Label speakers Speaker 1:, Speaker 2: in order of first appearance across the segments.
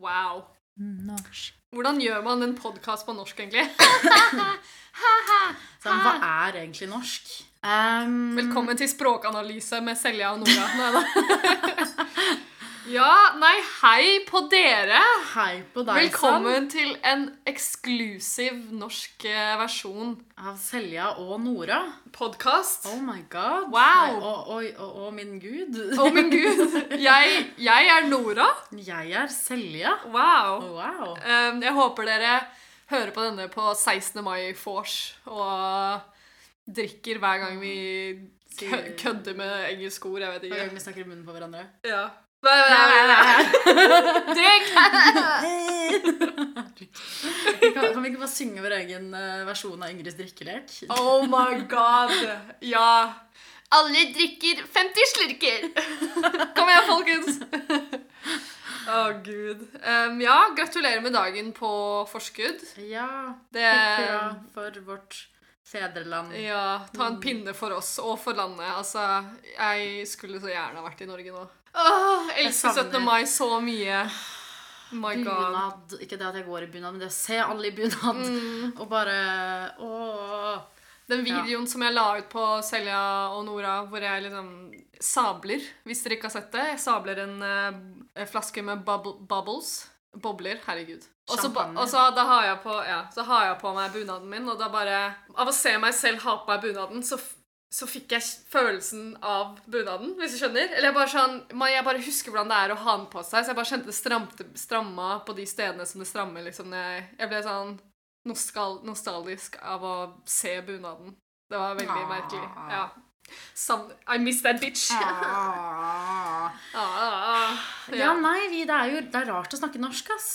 Speaker 1: Wow.
Speaker 2: Norsk.
Speaker 1: Hvordan gjør man en podkast på norsk, egentlig?
Speaker 2: Sånn, hva er egentlig norsk? Um,
Speaker 1: Velkommen til språkanalyse med Selja og Nora. Nei da. ja, nei, hei på dere.
Speaker 2: Hei på deg, sann,
Speaker 1: Velkommen til en eksklusiv norsk eh, versjon
Speaker 2: av Selja og Nora.
Speaker 1: podkast.
Speaker 2: Oh my god.
Speaker 1: Wow.
Speaker 2: Nei, og, og, og, og min gud.
Speaker 1: Å, min gud. Jeg, jeg er Nora.
Speaker 2: Jeg er Selja. Oh,
Speaker 1: Wow.
Speaker 2: Wow.
Speaker 1: Um, jeg håper dere hører på denne på 16. mai-vors og drikker hver gang vi kø-
Speaker 2: Sier-
Speaker 1: kødder med engelske ord. Jeg vet
Speaker 2: Hver gang
Speaker 1: ikke.
Speaker 2: vi snakker i munnen på hverandre.
Speaker 1: Ja. Nei, nei, nei, nei. Drikk!
Speaker 2: Kan, kan vi ikke bare synge vår egen eh, versjon av Ingrids drikkelek?
Speaker 1: Oh my god. Ja. Alle drikker 50 slurker. Kom igjen, folkens. Å, gud. Um, ja, gratulerer med dagen på forskudd.
Speaker 2: Ja.
Speaker 1: Det
Speaker 2: Hurra for vårt fedreland.
Speaker 1: Ja, ta en pinne for oss og for landet. Altså, jeg skulle så gjerne vært i Norge nå. Åh, jeg elsker
Speaker 2: savner-
Speaker 1: 17. mai så mye. My god.
Speaker 2: Bunad. Ikke det at jeg går i bunad, men det å se alle i bunad og bare Åh.
Speaker 1: Den videoen som jeg la ut på Selja og Nora, hvor jeg liksom sabler, hvis dere ikke har sett det. Jeg sabler en eh, flaske med bubble, bubbles. Bobler. Herregud. Og så, ba-
Speaker 2: Champagne.
Speaker 1: og så, da, har jeg på, ja, så har jeg på meg bunaden min, og da bare Av å se meg selv ha på meg bunaden, så, f- så fikk jeg følelsen av bunaden, hvis du skjønner. Eller jeg bare sånn man, Jeg bare husker hvordan det er å ha den på seg, så jeg bare kjente det stramte, stramma på de stedene som det strammer, liksom. når Jeg, jeg ble sånn nostal, nostalgisk av å se bunaden. Det var veldig
Speaker 2: Ah.
Speaker 1: merkelig. Ja. Savn- I miss that bitch. Ah, ah, ah.
Speaker 2: Ja, nei, vi, det er jo det er rart å snakke norsk, ass.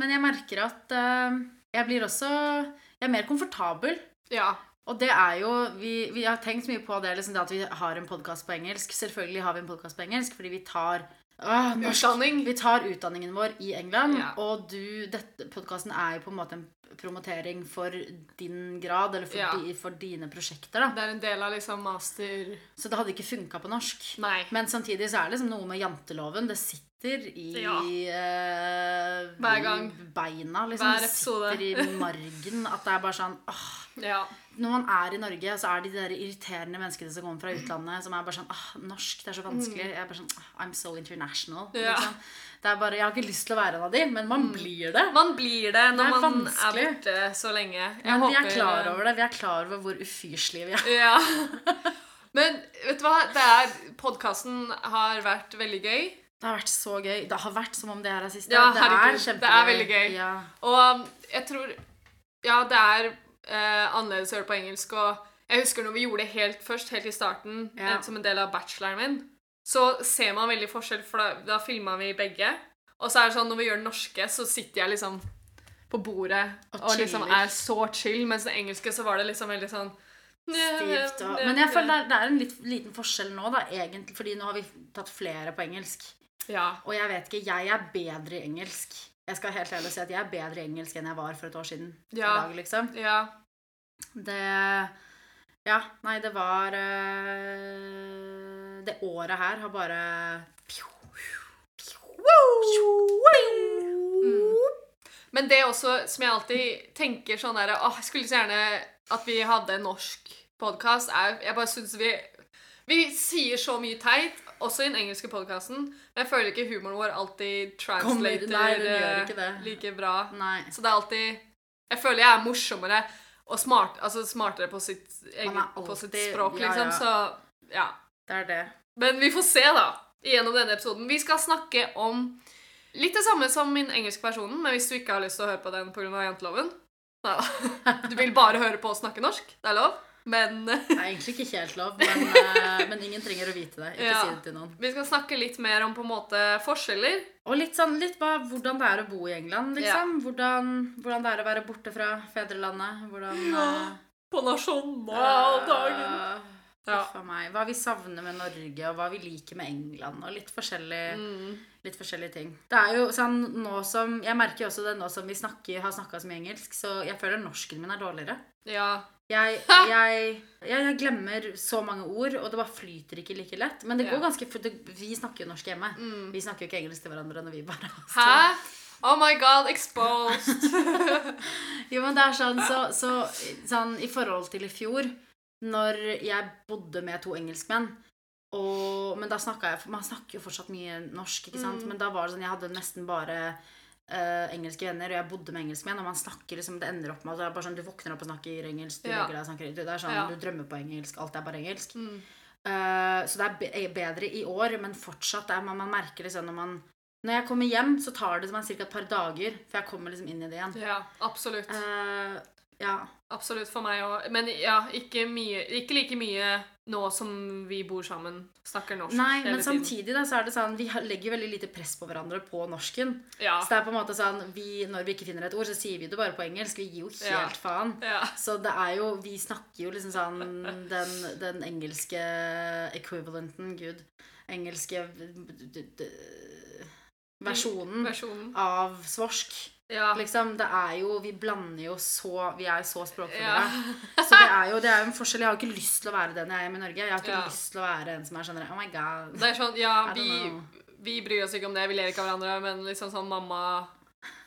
Speaker 2: Men jeg merker at eh, jeg blir også Jeg er mer komfortabel.
Speaker 1: ja.
Speaker 2: Og det er jo, vi, vi har tenkt mye på det, liksom det at vi har en podkast på engelsk. Selvfølgelig har vi en podkast på engelsk, fordi vi tar Åh, norsk-
Speaker 1: Utdanning.
Speaker 2: Vi tar utdanningen vår i England,
Speaker 1: Ja.
Speaker 2: og du, dette podkasten er jo på en måte en promotering for din grad, eller for,
Speaker 1: Ja.
Speaker 2: di, for dine prosjekter, da.
Speaker 1: Det er en del av liksom master
Speaker 2: Så det hadde ikke funka på norsk.
Speaker 1: Nei.
Speaker 2: Men samtidig så er det liksom noe med janteloven. Det sitter i
Speaker 1: Ja.
Speaker 2: eh,
Speaker 1: Hver gang.
Speaker 2: beina, liksom.
Speaker 1: Hver
Speaker 2: Det
Speaker 1: episode.
Speaker 2: sitter i margen. At det er bare sånn åh,
Speaker 1: Ja.
Speaker 2: når man er i Norge, så er det de der irriterende menneskene som kommer fra utlandet, som er bare sånn ah, 'Norsk, det er så vanskelig.' Jeg er bare sånn ah, 'I'm so international'.
Speaker 1: Mm. Ja. Mm.
Speaker 2: Liksom. Det er bare, Jeg har ikke lyst til å være en av de, men man blir det.
Speaker 1: Man blir det når
Speaker 2: Det er
Speaker 1: man er
Speaker 2: vanskelig.
Speaker 1: borte så lenge. Jeg
Speaker 2: Men vi er
Speaker 1: håper-
Speaker 2: klar over det. Vi er klar over hvor ufyselige vi er.
Speaker 1: Ja. Men vet du hva? Det er, podkasten har vært veldig gøy.
Speaker 2: Det har vært så gøy. Det har vært som om det her er siste.
Speaker 1: Ja,
Speaker 2: det,
Speaker 1: herregud,
Speaker 2: er
Speaker 1: det er
Speaker 2: kjempegøy.
Speaker 1: veldig gøy.
Speaker 2: Ja.
Speaker 1: Og um, jeg tror Ja, det er eh, annerledes å gjøre det på engelsk. Og jeg husker når vi gjorde det helt først, helt i starten,
Speaker 2: Ja.
Speaker 1: eh, som en del av bacheloren min, så ser man veldig forskjell, for da, da filma vi begge. Og så er det sånn når vi gjør det norske, så sitter jeg liksom på bordet og,
Speaker 2: Og
Speaker 1: liksom
Speaker 2: chiller.
Speaker 1: er så chill, mens det engelske så var det liksom veldig sånn
Speaker 2: Stivt og Men jeg føler det er, det er en litt, liten forskjell nå, da, egentlig. Fordi nå har vi tatt flere på engelsk.
Speaker 1: Ja.
Speaker 2: Og jeg vet ikke, jeg er bedre i engelsk. Jeg skal helt ærlig si at jeg er bedre i engelsk enn jeg var for et år siden. i
Speaker 1: Ja.
Speaker 2: dag, liksom.
Speaker 1: ja.
Speaker 2: Det Ja, nei, det var eh, Det året her har bare
Speaker 1: Men det også som jeg alltid tenker sånn der Åh, jeg skulle så gjerne at vi hadde en norsk podkast. Jeg bare syns vi Vi sier så mye teit, også i den engelske podkasten. Men jeg føler ikke humoren vår alltid
Speaker 2: Kommer-
Speaker 1: translater
Speaker 2: nei, den gjør ikke
Speaker 1: eh,
Speaker 2: det.
Speaker 1: like bra.
Speaker 2: Nei.
Speaker 1: Så det er alltid Jeg føler jeg er morsommere og smart, altså smartere på sitt, eget,
Speaker 2: er
Speaker 1: på sitt
Speaker 2: alltid-
Speaker 1: språk,
Speaker 2: ja,
Speaker 1: liksom.
Speaker 2: ja.
Speaker 1: Så ja.
Speaker 2: Det er det.
Speaker 1: Men vi får se, da. Gjennom denne episoden. Vi skal snakke om litt det samme som min engelske versjonen, men hvis du ikke har lyst til å høre på den pga. janteloven Neida. Du vil bare høre på oss snakke norsk. Det er lov. Men
Speaker 2: Det er egentlig ikke helt lov, men, eh, men ingen trenger å vite det. Ikke
Speaker 1: Ja.
Speaker 2: si det til noen.
Speaker 1: vi skal snakke litt mer om på en måte forskjeller.
Speaker 2: Og litt sånn litt hva, hvordan det er å bo i England, liksom. Hvordan, hvordan det er å være borte fra fedrelandet. Hvordan eh,
Speaker 1: På nasjonaldagen. Ja.
Speaker 2: Huff a meg. Hva vi savner med Norge, og hva vi liker med England, og litt forskjellig
Speaker 1: Mm,
Speaker 2: litt forskjellige ting. Det er jo sånn nå som Jeg merker jo også det nå som vi snakker, har snakka så mye engelsk, så jeg føler norsken min er dårligere.
Speaker 1: Ja.
Speaker 2: Jeg, jeg, jeg, jeg glemmer så mange ord, og det bare flyter ikke like lett. Men det
Speaker 1: Ja.
Speaker 2: går ganske fort. det- Vi snakker jo norsk hjemme. Vi snakker jo ikke engelsk til hverandre når vi bare
Speaker 1: Hæ? Oh my god, exposed!
Speaker 2: Jo, men det er sånn, så, så sånn, I forhold til i fjor, når jeg bodde med to engelskmenn og, Men da snakka jeg Man snakker jo fortsatt mye norsk, ikke sant?
Speaker 1: Mm.
Speaker 2: Men da var det sånn Jeg hadde nesten bare eh, engelske venner, og jeg bodde med engelskmenn, og man snakker liksom Det ender opp med at det er bare sånn, du våkner opp og snakker engelsk, du
Speaker 1: Ja.
Speaker 2: legger deg og snakker Det er sånn,
Speaker 1: Ja.
Speaker 2: du drømmer på engelsk, alt er bare engelsk.
Speaker 1: Mm.
Speaker 2: Eh, så det er be- er bedre i år, men fortsatt er man, man merker liksom når man Når jeg kommer hjem, så tar det ca. et par dager, for jeg kommer liksom inn i det igjen.
Speaker 1: Ja, absolutt.
Speaker 2: Eh, ja.
Speaker 1: Absolutt for meg òg. Men ja, ikke, mye, ikke like mye nå som vi bor sammen. Snakker norsk
Speaker 2: Nei,
Speaker 1: hele
Speaker 2: men samtidig da, så er det sånn, vi har- legger veldig lite press på hverandre på norsken.
Speaker 1: tiden. Ja.
Speaker 2: Så det er på en måte sånn, vi, når vi ikke finner et ord, så sier vi det bare på engelsk. Vi gir jo helt
Speaker 1: Ja.
Speaker 2: faen.
Speaker 1: ja.
Speaker 2: Så det er jo, vi snakker jo liksom sånn den, den engelske equivalenten, gud, engelske d- d- d- versjonen
Speaker 1: Versjonen.
Speaker 2: av svorsk.
Speaker 1: Ja.
Speaker 2: Liksom, det er jo, vi blander jo så, vi er jo så
Speaker 1: ja.
Speaker 2: språkfølgere. Så det er jo, det er jo en forskjell. Jeg har jo ikke lyst til å være den jeg er hjemme i Norge. Jeg har ikke
Speaker 1: Ja.
Speaker 2: lyst til å være en som er sånn, oh my god.
Speaker 1: Det er sånn, ja,
Speaker 2: I don't
Speaker 1: vi,
Speaker 2: know.
Speaker 1: vi bryr oss ikke om det, vi ler ikke av hverandre, men liksom sånn mamma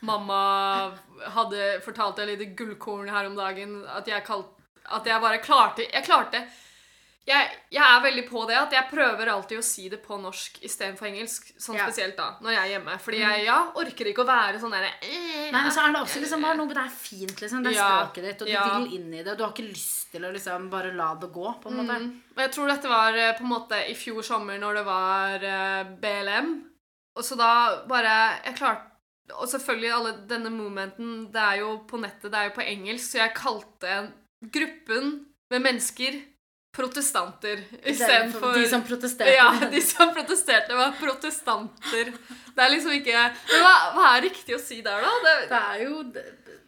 Speaker 1: Mamma hadde fortalt et lite gullkorn her om dagen at jeg kalt, At jeg bare klarte Jeg klarte jeg, jeg er veldig på det at jeg prøver alltid å si det på norsk istedenfor engelsk. Sånn
Speaker 2: Ja. Mm.
Speaker 1: spesielt da, når jeg er hjemme. Fordi jeg ja, orker ikke å være sånn derre eh,
Speaker 2: Nei, men så er det også liksom bare noe Det er fint, liksom. Det er
Speaker 1: Ja.
Speaker 2: språket ditt, og du
Speaker 1: Ja.
Speaker 2: vil inn i det. Og du har ikke lyst til å liksom bare la det gå, på en måte.
Speaker 1: Og jeg tror dette var eh, på en måte i fjor sommer når det var eh, BLM. Og så da bare Jeg klarte Og selvfølgelig alle denne momenten Det er jo på nettet, det er jo på engelsk, så jeg kalte gruppen med mennesker protestanter istedenfor
Speaker 2: De som protesterer.
Speaker 1: ja, de som protesterte, var protestanter. Det er liksom ikke Men hva, hva er riktig å si der, da? Det,
Speaker 2: Det er jo d-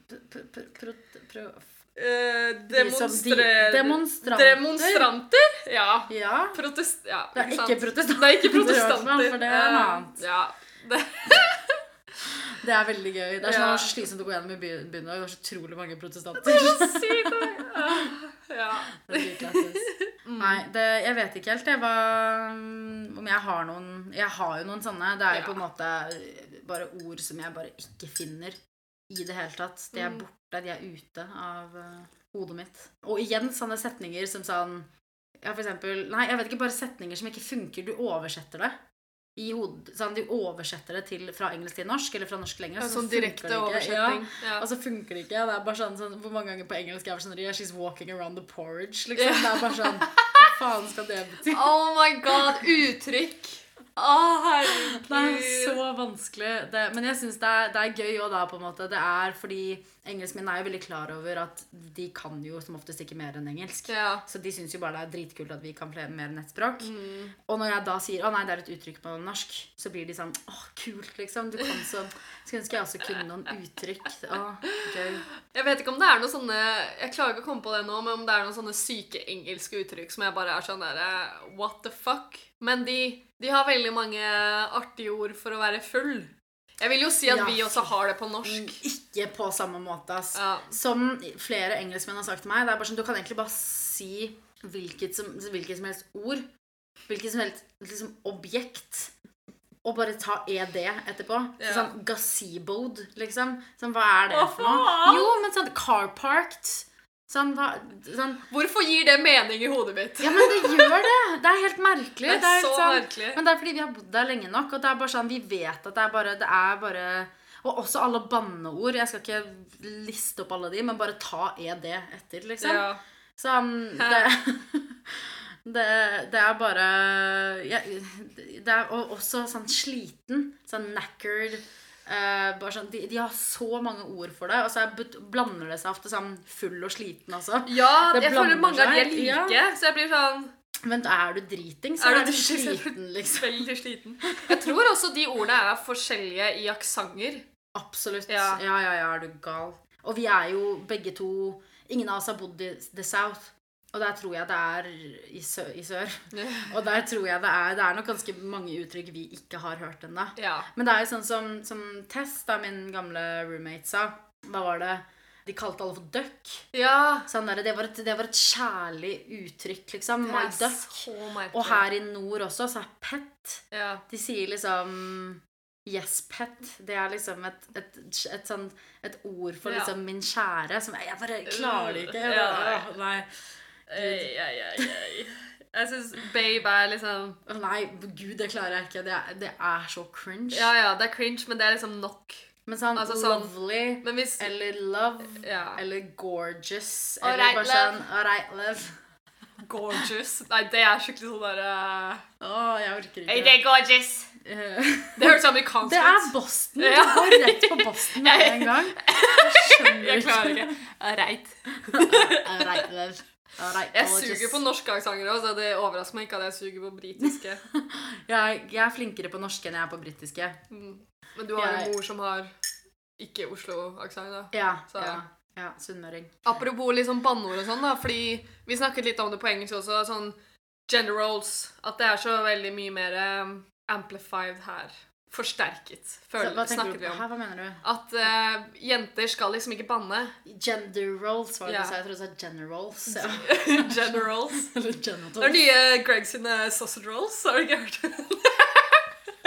Speaker 2: p- p- p- pro- pro-
Speaker 1: eh,
Speaker 2: de som- de-
Speaker 1: demonstre-
Speaker 2: Demonstranter.
Speaker 1: Demonstranter? Ja.
Speaker 2: Ja.
Speaker 1: Protest... Ja,
Speaker 2: Det er ikke
Speaker 1: sant?
Speaker 2: protestanter.
Speaker 1: Det er ikke
Speaker 2: Det
Speaker 1: protestanter.
Speaker 2: er for det er noe
Speaker 1: Eh,
Speaker 2: annet.
Speaker 1: Ja. Det,
Speaker 2: Det er veldig gøy. Det er
Speaker 1: Ja.
Speaker 2: sånn slitsomt å gå gjennom i byen byen i dag. Det er så utrolig mange protestanter.
Speaker 1: sykt, da. ja.
Speaker 2: Det blir klassisk.
Speaker 1: Mm.
Speaker 2: Nei, det, jeg vet ikke helt jeg, hva, om jeg har noen Jeg har jo noen sånne. Det er jo
Speaker 1: Ja.
Speaker 2: på en måte eh, bare ord som jeg bare ikke finner i det hele tatt. De er
Speaker 1: Mm.
Speaker 2: borte, de er ute av eh, hodet mitt. Og igjen sånne setninger som sånn Ja, for eksempel Nei, jeg vet ikke, bare setninger som ikke funker. Du oversetter det. I hodet, sånn, du oversetter det til, fra engelsk til norsk, eller fra norsk til engelsk.
Speaker 1: En
Speaker 2: og så
Speaker 1: sånn
Speaker 2: funker det
Speaker 1: direkte
Speaker 2: ikke. Altså,
Speaker 1: oversetting. Ja.
Speaker 2: Og så funker det ikke. Det er bare sånn, sånn Hvor mange ganger på engelsk er det sånn yeah, 'She's walking around the porridge'. Liksom. Det er bare sånn Hva faen skal det bety?
Speaker 1: Oh my god, uttrykk! Å, herregud.
Speaker 2: Det er så vanskelig. Det, men jeg syns det, er- det er gøy òg, da, på en måte. Det er fordi engelskmenn er jo veldig klar over at de kan jo som oftest ikke mer enn engelsk.
Speaker 1: ja.
Speaker 2: Så de syns jo bare det er dritkult at vi kan flere mer enn ett språk. Og når jeg da sier 'Å nei, det er et uttrykk på norsk', så blir de sånn 'Å, kult', liksom. Du kan så Skulle ønske jeg også kunne noen uttrykk. Å, gøy.
Speaker 1: Jeg vet ikke om det er noen sånne Jeg klarer ikke å komme på det nå, men om det er noen sånne syke engelske uttrykk som jeg bare er sånn derre What the fuck? Men de, de har veldig mange artige ord for å være full. Jeg vil jo si at
Speaker 2: Ja. Mm.
Speaker 1: vi også har det på norsk.
Speaker 2: Ikke på samme måte, ass.
Speaker 1: Ja.
Speaker 2: Som flere engelskmenn har sagt til meg, det er bare sånn, du kan egentlig bare si hvilket som, hvilket som helst ord, hvilket som helst liksom, objekt, og bare ta ED etterpå. Så
Speaker 1: Ja.
Speaker 2: Sånn gazeboed, liksom. Sånn, hva er det
Speaker 1: Hva
Speaker 2: for noe?
Speaker 1: faen?
Speaker 2: Jo, men sånn carparked. Sånn, hva, sånn,
Speaker 1: Hvorfor gir det mening i hodet mitt?
Speaker 2: ja, men det gjør det! Det er helt merkelig.
Speaker 1: Det er
Speaker 2: helt
Speaker 1: så
Speaker 2: sånn,
Speaker 1: merkelig.
Speaker 2: Men det er fordi vi har bodd der lenge nok, og det er bare sånn, vi vet at det er bare, det er bare Og også alle banneord. Jeg skal ikke liste opp alle de, men bare ta ED etter, liksom.
Speaker 1: Ja.
Speaker 2: Så um, det, det Det er bare jeg, Det er og også sånn sliten. Sånn knackered. eh, bare sånn, de, de har så mange ord for det, og så er, but- blander det seg ofte sammen full og sliten også.
Speaker 1: Ja,
Speaker 2: Det
Speaker 1: jeg føler
Speaker 2: blander
Speaker 1: mange av de er
Speaker 2: seg,
Speaker 1: like, så jeg blir sånn
Speaker 2: Men er du driting, så
Speaker 1: Er
Speaker 2: er
Speaker 1: du
Speaker 2: du,
Speaker 1: driting, så er du-
Speaker 2: sliten, liksom.
Speaker 1: veldig sliten. Jeg tror også de ordene er forskjellige i aksenter.
Speaker 2: Absolutt.
Speaker 1: Ja.
Speaker 2: Ja. ja, ja, er du gal. Og vi er jo begge to Ingen av oss har bodd i The South. Og der tror jeg det er i sør. I sør. Og der tror jeg det er Det er nok ganske mange uttrykk vi ikke har hørt ennå.
Speaker 1: Ja.
Speaker 2: Men det er jo sånn som, som Tess, da min gamle roommate, sa. Hva var det? De kalte alle for duck.
Speaker 1: ja.
Speaker 2: Sånn der, det, var et, det var et kjærlig uttrykk, liksom.
Speaker 1: Det
Speaker 2: My
Speaker 1: er
Speaker 2: duck.
Speaker 1: så merkelig.
Speaker 2: Og her i nord også, så er pet
Speaker 1: Oh ja.
Speaker 2: De sier liksom Yes, pet. Det er liksom et, et, et, sånn, et ord for
Speaker 1: Ja. Uh,
Speaker 2: liksom min kjære som Jeg bare klarer det ikke. Jeg
Speaker 1: Ja,
Speaker 2: bare,
Speaker 1: nei.
Speaker 2: åh, nei.
Speaker 1: Ei, ei, ei, ei. Jeg syns babe er liksom
Speaker 2: Åh, nei, gud, det klarer jeg ikke. Det er, det er så cringe.
Speaker 1: Ja ja, det er cringe, men det er liksom nok.
Speaker 2: Men sånn
Speaker 1: Altså sånn-
Speaker 2: lovely
Speaker 1: Men hvis
Speaker 2: eller love
Speaker 1: Ja.
Speaker 2: eller gorgeous
Speaker 1: All
Speaker 2: eller
Speaker 1: right,
Speaker 2: bare sånn All right, love.
Speaker 1: Gorgeous. Nei, det er skikkelig sånn derre
Speaker 2: Åh, jeg orker ikke.
Speaker 1: er gorgeous.
Speaker 2: Eh,
Speaker 1: Det høres amerikansk
Speaker 2: Det er
Speaker 1: ut.
Speaker 2: Boston.
Speaker 1: Ja.
Speaker 2: Du går rett på Boston med en gang. Jeg skjønner
Speaker 1: Jeg klarer ikke. Reit.
Speaker 2: All right, love. All right,
Speaker 1: Jeg
Speaker 2: gorgeous.
Speaker 1: suger på norske aksenter òg, så det overrasker meg ikke at jeg suger på britiske.
Speaker 2: Jeg, jeg er flinkere på norske enn jeg er på britiske.
Speaker 1: Men du har
Speaker 2: Jeg-
Speaker 1: en mor som har ikke Oslo-aksent, da.
Speaker 2: Ja,
Speaker 1: Så-
Speaker 2: ja, ja, sunnmøring.
Speaker 1: Apropos liksom banneord og sånn, da, fordi vi snakket litt om det på engelsk også, sånn gender roles, at det er så veldig mye mer eh, amplified her. Forsterket,
Speaker 2: Så,
Speaker 1: føl
Speaker 2: hva tenker
Speaker 1: snakker
Speaker 2: du
Speaker 1: vi
Speaker 2: på?
Speaker 1: om.
Speaker 2: Hæ, hva mener du?
Speaker 1: At eh, jenter skal liksom ikke banne.
Speaker 2: Gender roles, var det
Speaker 1: Ja.
Speaker 2: du sa? Jeg trodde du sa gender roles. Ja.
Speaker 1: gender roles.
Speaker 2: Eller
Speaker 1: Det er
Speaker 2: genitals.
Speaker 1: nye Greg sine sausage rolls, har du ikke hørt det?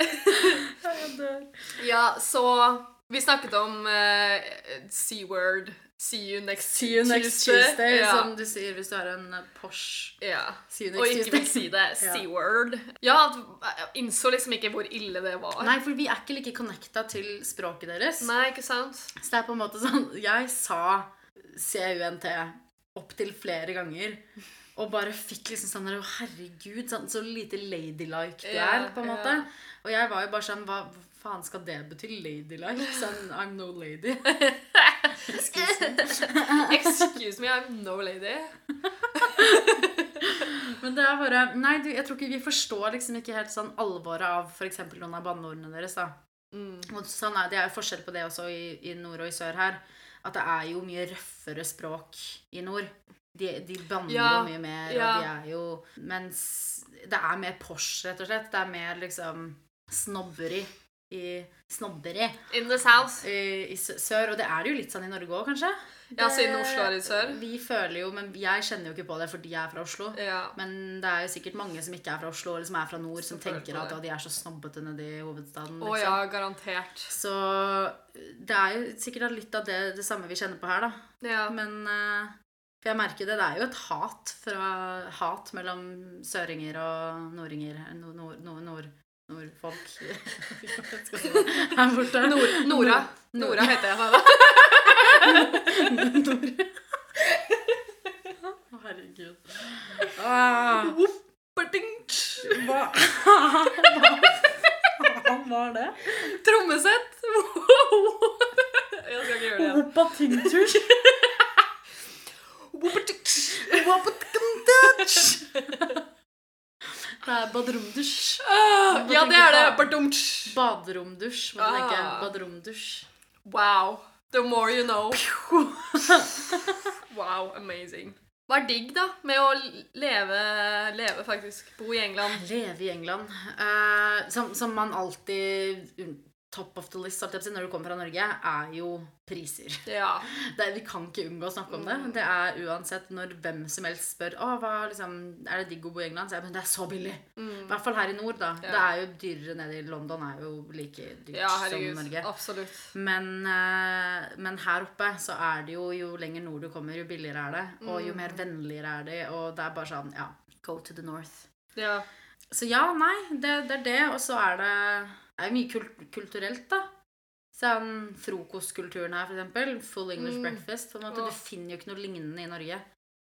Speaker 2: Jeg dør.
Speaker 1: Ja, så vi snakket om eh, C-word. See you next
Speaker 2: See you next Tuesday,
Speaker 1: Ja.
Speaker 2: som du sier hvis du har en eh, Porsche.
Speaker 1: ja.
Speaker 2: See you
Speaker 1: Og
Speaker 2: next
Speaker 1: ikke vil si
Speaker 2: Tuesday.
Speaker 1: det. C-word. Ja, at jeg innså liksom ikke hvor ille det var.
Speaker 2: Nei, for vi er ikke like connecta til språket deres.
Speaker 1: Nei, ikke sant?
Speaker 2: Så det er på en måte sånn Jeg sa CUNT opptil flere ganger. Og bare fikk liksom sånn der, «Å, Herregud, sånn, så lite ladylike du
Speaker 1: Ja,
Speaker 2: er, på en
Speaker 1: ja.
Speaker 2: måte. Og jeg var jo bare sånn Hva faen skal det bety? Ladylike? Sånn I'm no lady. Excuse me.
Speaker 1: Excuse me, I'm no lady.
Speaker 2: Men det er bare Nei, du, jeg tror ikke vi forstår liksom ikke helt sånn alvoret av f.eks. noen av banneordene deres, da.
Speaker 1: Mm.
Speaker 2: Og sånn er, det er jo forskjell på det også i, i nord og i sør her. At det er jo mye røffere språk i nord. De, de banner
Speaker 1: Ja,
Speaker 2: jo mye mer,
Speaker 1: ja.
Speaker 2: og de er jo Mens det er mer Porsche, rett og slett. Det er mer liksom snobberi. I snobberi
Speaker 1: In this house.
Speaker 2: i, i sø- sør. Og det er det jo litt sånn i Norge òg, kanskje?
Speaker 1: Ja,
Speaker 2: Det-
Speaker 1: siden Oslo er i sør.
Speaker 2: Vi føler jo Men jeg kjenner jo ikke på det fordi jeg er fra Oslo.
Speaker 1: Ja.
Speaker 2: Men det er jo sikkert mange som ikke er fra Oslo, eller som er fra nord, som
Speaker 1: føler
Speaker 2: tenker
Speaker 1: på
Speaker 2: at
Speaker 1: det.
Speaker 2: «Å, de er så snobbete nede i hovedstaden. liksom.
Speaker 1: Å ja, garantert.
Speaker 2: Så det er jo sikkert litt av det, det samme vi kjenner på her, da.
Speaker 1: Ja.
Speaker 2: Men eh, for jeg merker det, det er jo et hat, fra, hat mellom søringer og nordinger no, nord, nord, nord, Nordfolk Her borte.
Speaker 1: Nor Nora.
Speaker 2: Nora.
Speaker 1: Nora heter jeg nå, da.
Speaker 2: Nord. Å, Herregud. Ah, hva Hva var det?
Speaker 1: Trommesett! Jeg skal ikke gjøre det igjen.
Speaker 2: Hoppa-ting-tur. Det er baderomdusj.
Speaker 1: Ah, Ja, det er det. Badumtsj.
Speaker 2: Baderomdusj, må du tenke.
Speaker 1: Ah.
Speaker 2: Baderomdusj.
Speaker 1: Wow. The more you know. Wow, amazing. Hva er digg, da, med å leve, leve faktisk, bo i England?
Speaker 2: Leve i England. Eh, som, som man alltid mm, Top of the list holdt jeg på å si, når du kommer fra Norge, er jo priser.
Speaker 1: Ja.
Speaker 2: Det, vi kan ikke unngå å snakke om det.
Speaker 1: Mm.
Speaker 2: Det er uansett når hvem som helst spør Å, hva er liksom, er det digg å bo i England, så er jeg men det er så billig. I
Speaker 1: Mm.
Speaker 2: hvert fall her i nord, da.
Speaker 1: Ja.
Speaker 2: Det er jo dyrere nede i London. er jo like dyrt
Speaker 1: ja,
Speaker 2: som
Speaker 1: herregud.
Speaker 2: Norge.
Speaker 1: Absolutt.
Speaker 2: Men, eh, men her oppe så er det jo Jo lenger nord du kommer, jo billigere er det. Og jo
Speaker 1: Mm.
Speaker 2: mer vennligere er de. Og det er bare sånn Ja, go to the north.
Speaker 1: Ja.
Speaker 2: Så ja, nei, det, det er det. Og så er det Det er jo mye kul kulturelt, da. Sånn frokostkulturen her, for eksempel. Full English
Speaker 1: Mm.
Speaker 2: breakfast. På en måte.
Speaker 1: Åh.
Speaker 2: Du finner jo ikke noe lignende i Norge.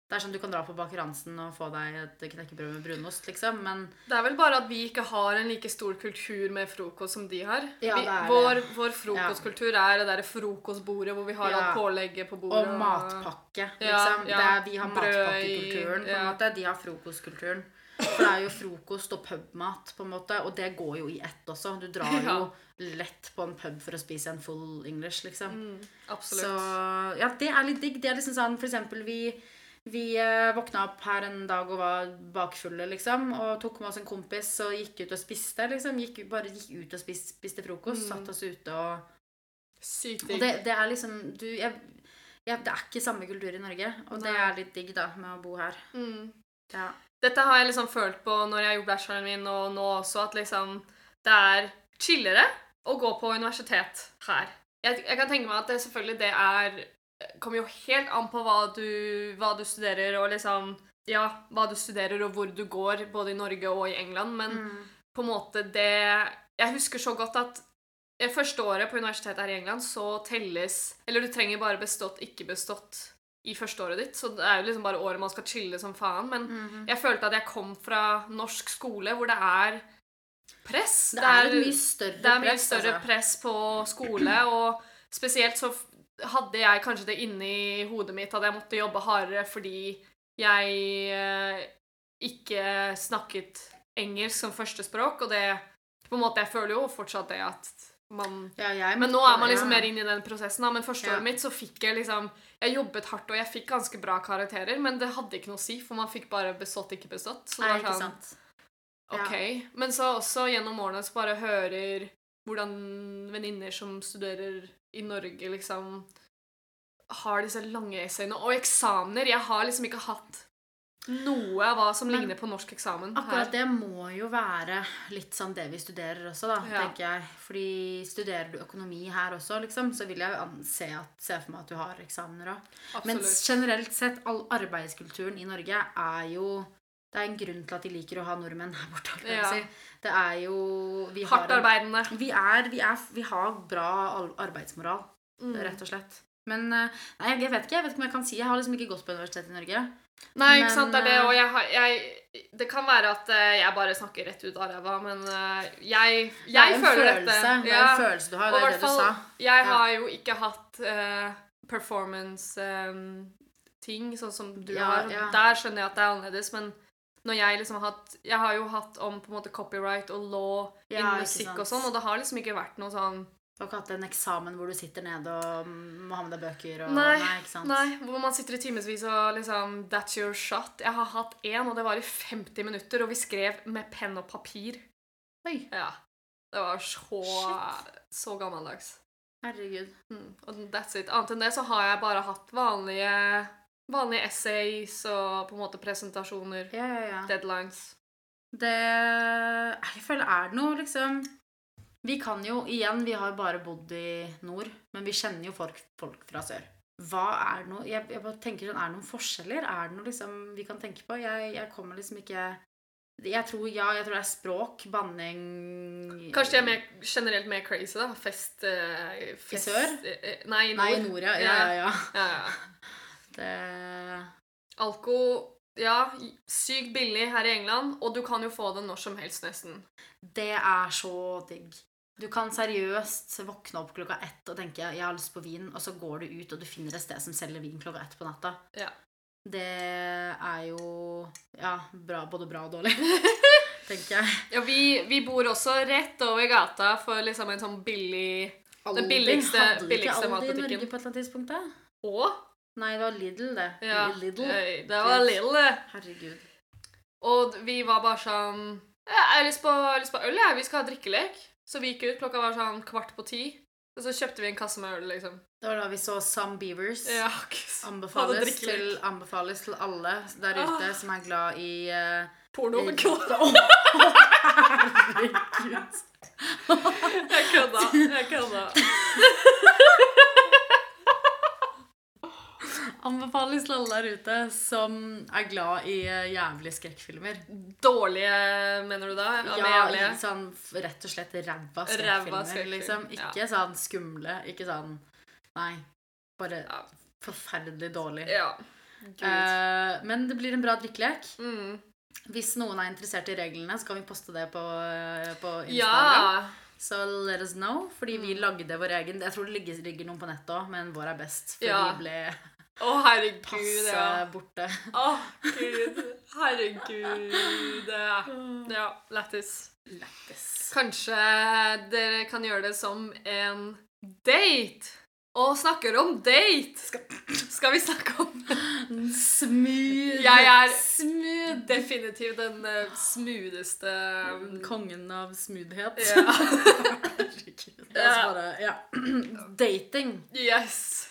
Speaker 2: Det er sånn Du kan dra på Baker Hansen og få deg et knekkebrød med brunost, liksom. Men
Speaker 1: Det er vel bare at vi ikke har en like stor kultur med frokost som de har.
Speaker 2: Ja,
Speaker 1: vi,
Speaker 2: det er det.
Speaker 1: vår, vår frokostkultur er det derre frokostbordet hvor vi har
Speaker 2: Ja.
Speaker 1: alt pålegget på bordet.
Speaker 2: Og matpakke,
Speaker 1: Ja,
Speaker 2: liksom.
Speaker 1: ja.
Speaker 2: Det er, vi har
Speaker 1: Brød i-
Speaker 2: matpakkekulturen, på en
Speaker 1: ja.
Speaker 2: måte. De har frokostkulturen. For det er jo frokost og pubmat, på en måte. Og det går jo i ett også. Du drar
Speaker 1: Ja.
Speaker 2: jo lett på en pub for å spise en full English, liksom.
Speaker 1: Mm,
Speaker 2: Så
Speaker 1: absolutt.
Speaker 2: ja, det er litt digg. Det er liksom sånn for eksempel vi vi eh, våkna opp her en dag og var bakfulle, liksom. Og tok med oss en kompis og gikk ut og spiste, liksom. Gikk, bare gikk ut og spiste, spiste frokost.
Speaker 1: Mm.
Speaker 2: Satt oss ute og
Speaker 1: Sykt
Speaker 2: og
Speaker 1: digg.
Speaker 2: det, det er liksom du, jeg, jeg, Det er ikke samme kultur i Norge, og det
Speaker 1: Nei.
Speaker 2: er litt digg da med å bo her.
Speaker 1: Mm.
Speaker 2: Ja.
Speaker 1: Dette har jeg liksom følt på når jeg har gjort bacheloren min, og nå også, at liksom det er chillere å gå på universitet her. Jeg, jeg kan tenke meg at det selvfølgelig det er Kommer jo helt an på hva du, hva du studerer, og liksom Ja, hva du studerer, og hvor du går, både i Norge og i England, men
Speaker 2: Mm.
Speaker 1: på en måte det Jeg husker så godt at det første året på universitetet her i England så telles Eller du trenger bare bestått, ikke bestått i første året ditt, så det er jo liksom bare året man skal chille som faen.
Speaker 2: Mm.
Speaker 1: Men jeg følte at jeg kom fra norsk skole hvor det er press.
Speaker 2: Det er et mye større
Speaker 1: det er mye
Speaker 2: press,
Speaker 1: større
Speaker 2: altså.
Speaker 1: press på skole, og spesielt så f- hadde jeg kanskje det inni hodet mitt at jeg måtte jobbe hardere fordi jeg eh, ikke snakket engelsk som førstespråk, og det på en måte, Jeg føler jo fortsatt det at man
Speaker 2: Ja, jeg
Speaker 1: men nå
Speaker 2: måtte-
Speaker 1: er man liksom
Speaker 2: ja.
Speaker 1: mer inne i den prosessen. Da. Men første
Speaker 2: Ja.
Speaker 1: året mitt så fikk jeg liksom Jeg jobbet hardt, og jeg fikk ganske bra karakterer, men det hadde ikke noe å si, for man fikk bare bestått, ikke bestått. Så det
Speaker 2: Nei,
Speaker 1: var
Speaker 2: ikke
Speaker 1: sånn,
Speaker 2: sant. Ja.
Speaker 1: Ok. Men så også gjennom årene så bare hører hvordan venninner som studerer i Norge, liksom har disse lange essayene og eksamener. Jeg har liksom ikke hatt noe av hva som
Speaker 2: Men
Speaker 1: ligner på norsk eksamen.
Speaker 2: Akkurat det må jo være litt sånn det vi studerer også, da,
Speaker 1: Ja.
Speaker 2: tenker jeg. Fordi studerer du økonomi her også, liksom, så vil jeg jo anse at, se for meg at du har eksamener òg.
Speaker 1: her.
Speaker 2: Men
Speaker 1: Absolutt.
Speaker 2: generelt sett, all arbeidskulturen i Norge er jo Det er en grunn til at de liker å ha nordmenn her borte. kan jeg
Speaker 1: Ja.
Speaker 2: Si. Det er jo vi har
Speaker 1: Hardt
Speaker 2: en-
Speaker 1: arbeidende.
Speaker 2: Vi, er, vi, er, vi har bra al- arbeidsmoral,
Speaker 1: Mm.
Speaker 2: rett og slett. Men eh, nei, jeg vet ikke jeg vet ikke om jeg kan si Jeg har liksom ikke gått på universitet i Norge.
Speaker 1: Nei,
Speaker 2: Men,
Speaker 1: ikke sant, det er det,
Speaker 2: eh,
Speaker 1: og jeg, har- jeg Det kan være at eh, jeg bare snakker rett ut av ræva, men eh, jeg, jeg
Speaker 2: det er en
Speaker 1: føler
Speaker 2: følelse,
Speaker 1: dette.
Speaker 2: Det er
Speaker 1: ja.
Speaker 2: en følelse du har.
Speaker 1: Og i
Speaker 2: Det er
Speaker 1: hvert
Speaker 2: det du
Speaker 1: fall,
Speaker 2: sa.
Speaker 1: jeg
Speaker 2: Ja.
Speaker 1: har jo ikke hatt eh, performance em, ting, sånn som du
Speaker 2: Ja,
Speaker 1: har.
Speaker 2: ja.
Speaker 1: Der skjønner jeg at det er annerledes, men når jeg liksom har hatt Jeg har jo hatt om på en måte copyright og law
Speaker 2: Ja,
Speaker 1: innen
Speaker 2: ikke
Speaker 1: musikk
Speaker 2: sant.
Speaker 1: og sånn, og det har liksom ikke vært noe sånn
Speaker 2: Du har ikke hatt en eksamen hvor du sitter nede og må ha med deg bøker? Og,
Speaker 1: Nei,
Speaker 2: ikke sant?
Speaker 1: Nei, hvor man sitter i timevis og liksom That's your shot. Jeg har hatt én, og det var i 50 minutter, og vi skrev med penn og papir.
Speaker 2: Oi,
Speaker 1: Ja. Det var så,
Speaker 2: Shit.
Speaker 1: så gammeldags.
Speaker 2: herregud.
Speaker 1: Mm. Og that's it. Annet enn det så har jeg bare hatt vanlige, vanlige essays og på en måte presentasjoner.
Speaker 2: Ja, ja, ja.
Speaker 1: Deadlines.
Speaker 2: Det Jeg føler er det noe, liksom Vi kan jo igjen Vi har bare bodd i nord, men vi kjenner jo folk, folk fra sør. Hva er det noe jeg, jeg bare tenker sånn, Er det noen forskjeller? Er det noe liksom vi kan tenke på? Jeg, jeg kommer liksom ikke Jeg tror ja, jeg tror det er språk, banning
Speaker 1: Kanskje de er mer, generelt mer crazy, da. Fest, eh, fest
Speaker 2: sør?
Speaker 1: eh, Nei, i
Speaker 2: Nei, i
Speaker 1: nord.
Speaker 2: nord, ja. Ja,
Speaker 1: Ja,
Speaker 2: ja.
Speaker 1: ja.
Speaker 2: ja. Det
Speaker 1: Alko ja, sykt billig her i England, og du kan jo få det når som helst, nesten.
Speaker 2: Det er så digg. Du kan seriøst våkne opp klokka ett og tenke 'jeg har lyst på vin', og så går du ut og du finner et sted som selger vin klokka ett på natta.
Speaker 1: Ja.
Speaker 2: Det er jo ja, bra, både bra og dårlig, tenker jeg.
Speaker 1: Ja, vi, vi bor også rett over gata for liksom en sånn billig Den billigste-
Speaker 2: Hadde de ikke
Speaker 1: billigste
Speaker 2: Aldi i
Speaker 1: matbutikken.
Speaker 2: Norge på et eller annet tidspunkt? da?
Speaker 1: Å?
Speaker 2: Nei, det var Lidl, det.
Speaker 1: Ja.
Speaker 2: Lidl.
Speaker 1: eh, Det var Lidl, det.
Speaker 2: Herregud.
Speaker 1: Og d- vi var bare sånn «Ja, Jeg har lyst på, jeg har lyst på øl, jeg. Vi skal ha drikkelek. Så vi gikk ut. Klokka var sånn kvart på ti. Og så kjøpte vi en kasse med øl, liksom.
Speaker 2: Det var da vi så Some Beavers.
Speaker 1: Ja, ikke- Hadde
Speaker 2: Anbefales,
Speaker 1: drikkelek.
Speaker 2: til, anbefales til alle der ute
Speaker 1: Ah.
Speaker 2: som er glad i eh,
Speaker 1: Porno.
Speaker 2: i-
Speaker 1: Kødda.
Speaker 2: Herregud.
Speaker 1: Jeg kødda. Jeg kødda.
Speaker 2: Anbefales til alle der ute som er glad i eh, jævlige skrekkfilmer.
Speaker 1: Dårlige, mener du da? Ja, med
Speaker 2: Ja,
Speaker 1: jævlige.
Speaker 2: litt sånn f- rett og slett ræva
Speaker 1: Ræva
Speaker 2: skrekkfilmer.
Speaker 1: skrekkfilm,
Speaker 2: Liksom.
Speaker 1: ja.
Speaker 2: Ikke sånn skumle, ikke sånn Nei. Bare
Speaker 1: Ja.
Speaker 2: forferdelig dårlig.
Speaker 1: Ja. Gud.
Speaker 2: Eh, men det blir en bra drikkelek.
Speaker 1: Mm.
Speaker 2: Hvis noen er interessert i reglene, så kan vi poste det på, eh, på Instagram.
Speaker 1: Ja. Mm.
Speaker 2: Så let us know. Fordi vi lagde vår egen. Jeg tror det ligger, ligger noen på nettet òg, men vår er best. For
Speaker 1: Ja.
Speaker 2: vi ble
Speaker 1: Å, herregud,
Speaker 2: passa
Speaker 1: ja.
Speaker 2: borte.
Speaker 1: Å, gud. Herregud. Ja, lættis.
Speaker 2: Lættis.
Speaker 1: Kanskje dere kan gjøre det som en date? Og snakker om date! Skal vi snakke om
Speaker 2: Smooth.
Speaker 1: Jeg er-
Speaker 2: smooth. Mm.
Speaker 1: definitivt den eh, smootheste um,
Speaker 2: Kongen av smoothhet.
Speaker 1: Ja.
Speaker 2: Herregud. Altså bare, ja. Dating.
Speaker 1: Yes.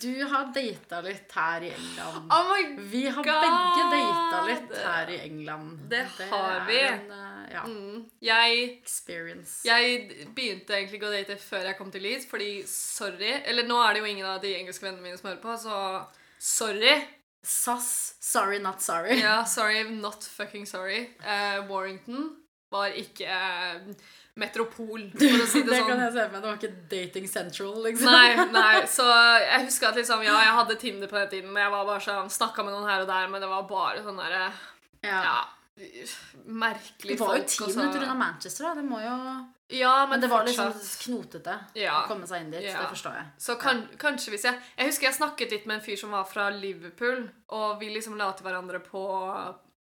Speaker 2: Du har data litt her i England.
Speaker 1: Oh my
Speaker 2: Vi har
Speaker 1: God!
Speaker 2: begge data litt her i England.
Speaker 1: Det har vi.
Speaker 2: er En, eh, ja,
Speaker 1: mm. Jeg
Speaker 2: experience.
Speaker 1: Jeg begynte egentlig ikke å date før jeg kom til Leeds, fordi sorry Eller nå er det jo ingen av de engelske vennene mine som hører på, så sorry.
Speaker 2: SAS, sorry not sorry.
Speaker 1: Ja, sorry, not fucking sorry. Eh, Warrington var ikke eh, metropol, for å si det,
Speaker 2: det kan
Speaker 1: sånn.
Speaker 2: jeg se for meg. Det var ikke Dating Central, liksom.
Speaker 1: Nei, nei, så jeg husker at liksom, ja, jeg hadde Tinder på den tiden, men jeg var bare sånn, snakka med noen her og der, men det var bare sånn derre
Speaker 2: Ja.
Speaker 1: ja, merkelige
Speaker 2: Det var jo
Speaker 1: folk,
Speaker 2: ti
Speaker 1: og så-
Speaker 2: minutter unna Manchester, da. Det må jo
Speaker 1: Ja, men,
Speaker 2: Men det var liksom
Speaker 1: fortsatt.
Speaker 2: knotete
Speaker 1: Ja.
Speaker 2: å komme seg inn dit.
Speaker 1: Ja.
Speaker 2: Det forstår jeg.
Speaker 1: Så kan, kanskje hvis jeg Jeg husker jeg snakket litt med en fyr som var fra Liverpool, og vi liksom la til hverandre på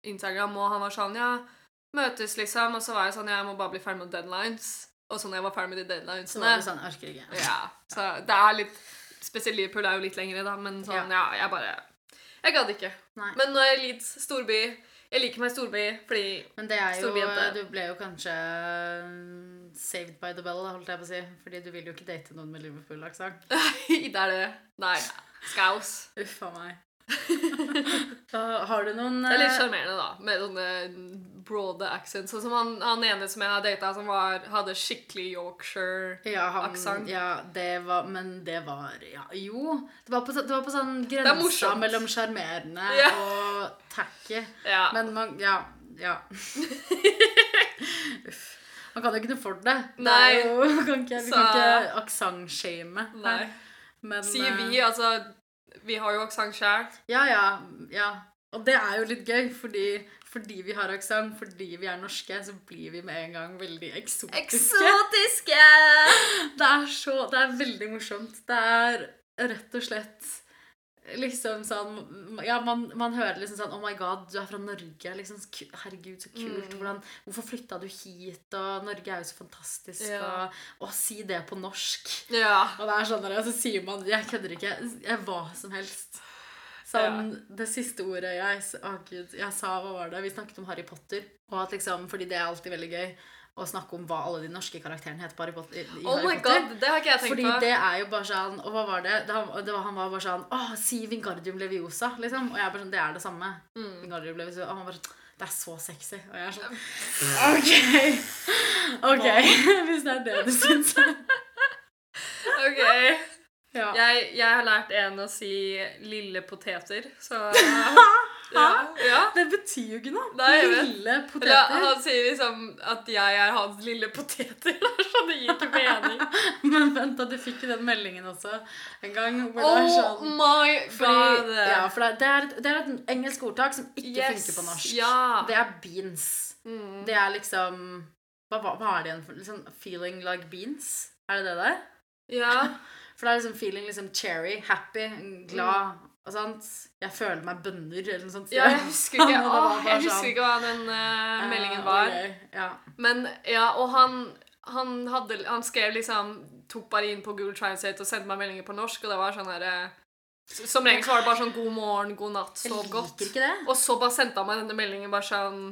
Speaker 1: Instagram, og han var sånn Ja, møtes, liksom. Og så var jeg sånn Jeg må bare bli ferdig med deadlines. Og så når jeg var ferdig med de
Speaker 2: Så var
Speaker 1: deadlinesene
Speaker 2: det sånn, jeg orker ikke.
Speaker 1: Ja. Så det er litt Spesielt Liverpool er jo litt lengre, da, men sånn, ja, jeg bare Jeg gadd ikke.
Speaker 2: Nei.
Speaker 1: Men nå er jeg Leeds, storby. Jeg liker meg i storby fordi
Speaker 2: Men det er jo
Speaker 1: Stor jente.
Speaker 2: Du ble jo kanskje mm, saved by the bell, da, holdt jeg på å si. Fordi du vil jo ikke date noen med Liverpool-aksent.
Speaker 1: Det er det. Nei. Skaus.
Speaker 2: Uff a meg. Så har du noen
Speaker 1: Det er litt
Speaker 2: eh,
Speaker 1: sjarmerende, da, med sånne broade accents. Sånn som han, han ene som jeg har data, som var, hadde skikkelig Yorkshire
Speaker 2: ja, han-
Speaker 1: aksent.
Speaker 2: Ja, det var Men det var ja, Jo. Det var på, så- det var på sånn
Speaker 1: er
Speaker 2: grensa
Speaker 1: morsomt.
Speaker 2: mellom sjarmerende
Speaker 1: Ja.
Speaker 2: og tacky.
Speaker 1: Ja.
Speaker 2: Men man Ja. ja. Uff. Man kan jo ikke noe for det. det er
Speaker 1: Nei.
Speaker 2: Jo, man kan ikke, vi kan
Speaker 1: Så-
Speaker 2: ikke aksentshame. her.
Speaker 1: Nei.
Speaker 2: Men,
Speaker 1: Sier
Speaker 2: eh,
Speaker 1: vi, altså Vi har jo aksent sjæl.
Speaker 2: Ja, ja, ja. Og det er jo litt gøy, fordi, fordi vi har aksent, fordi vi er norske, så blir vi med en gang veldig eksotiske.
Speaker 1: Eksotiske!
Speaker 2: Det er så Det er veldig morsomt. Det er rett og slett liksom sånn Ja, man, man hører liksom sånn Oh my god, du er fra Norge. Liksom, ku- herregud, så kult. Hvordan, hvorfor flytta du hit? Og Norge er jo så fantastisk.
Speaker 1: Ja.
Speaker 2: Og, og si det på norsk.
Speaker 1: Ja.
Speaker 2: Og det er sånn der, så sier man Jeg kødder ikke. Jeg hva som helst. Sånn, Det siste ordet jeg, s- å Gud, jeg sa, hva var det? Vi snakket om Harry Potter. Og at liksom, fordi det er alltid veldig gøy å snakke om hva alle de norske karakterene heter på Harry Potter. I, i
Speaker 1: Oh my
Speaker 2: Harry Potter.
Speaker 1: god, det har ikke jeg tenkt
Speaker 2: Fordi
Speaker 1: på.
Speaker 2: det er jo bare sånn Og hva var det? det, han, det var, han var bare sånn Å, si Vingardium Leviosa, liksom. Og jeg er bare sånn Det er det samme.
Speaker 1: Mm.
Speaker 2: Wingardium Leviosa. Og han bare sånn Det er så sexy. Og jeg er sånn OK. OK. Hvis det er det du syns.
Speaker 1: Ok.
Speaker 2: Ja.
Speaker 1: Jeg, jeg har lært en å si 'lille poteter', så ja, ja.
Speaker 2: Det betyr jo ikke noe.
Speaker 1: Nei, jeg vet.
Speaker 2: Lille
Speaker 1: Eller,
Speaker 2: poteter.
Speaker 1: han sier liksom at jeg er hans lille poteter. Så det gir ikke mening.
Speaker 2: Men vent, da, du fikk jo den meldingen også en gang. Hvor det er
Speaker 1: Oh
Speaker 2: sånn
Speaker 1: my god!
Speaker 2: fordi, ja, for det- det er, et, det er et engelsk ordtak som ikke
Speaker 1: Yes,
Speaker 2: funker på norsk.
Speaker 1: ja.
Speaker 2: Det er beans.
Speaker 1: Mm.
Speaker 2: Det er liksom hva, hva, hva er det igjen for liksom, Feeling like beans? Er det det der?
Speaker 1: ja.
Speaker 2: For det er liksom feeling liksom cherry, happy, glad og sånt. Jeg føler meg bønner, eller noe sånt.
Speaker 1: Mm. Ja, jeg husker ikke,
Speaker 2: Og det var
Speaker 1: åh,
Speaker 2: bare
Speaker 1: jeg
Speaker 2: sånn,
Speaker 1: husker ikke hva den eh,
Speaker 2: eh,
Speaker 1: meldingen var.
Speaker 2: ok, Ja.
Speaker 1: Men ja, Og han, han, hadde, han skrev liksom Tok bare inn på Google Translate og sendte meg meldinger på norsk, og det var sånn herre Som regel så var det bare sånn 'god morgen, god natt,
Speaker 2: Jeg
Speaker 1: sov
Speaker 2: liker
Speaker 1: godt'.
Speaker 2: ikke det.
Speaker 1: Og så bare sendte han meg denne meldingen bare sånn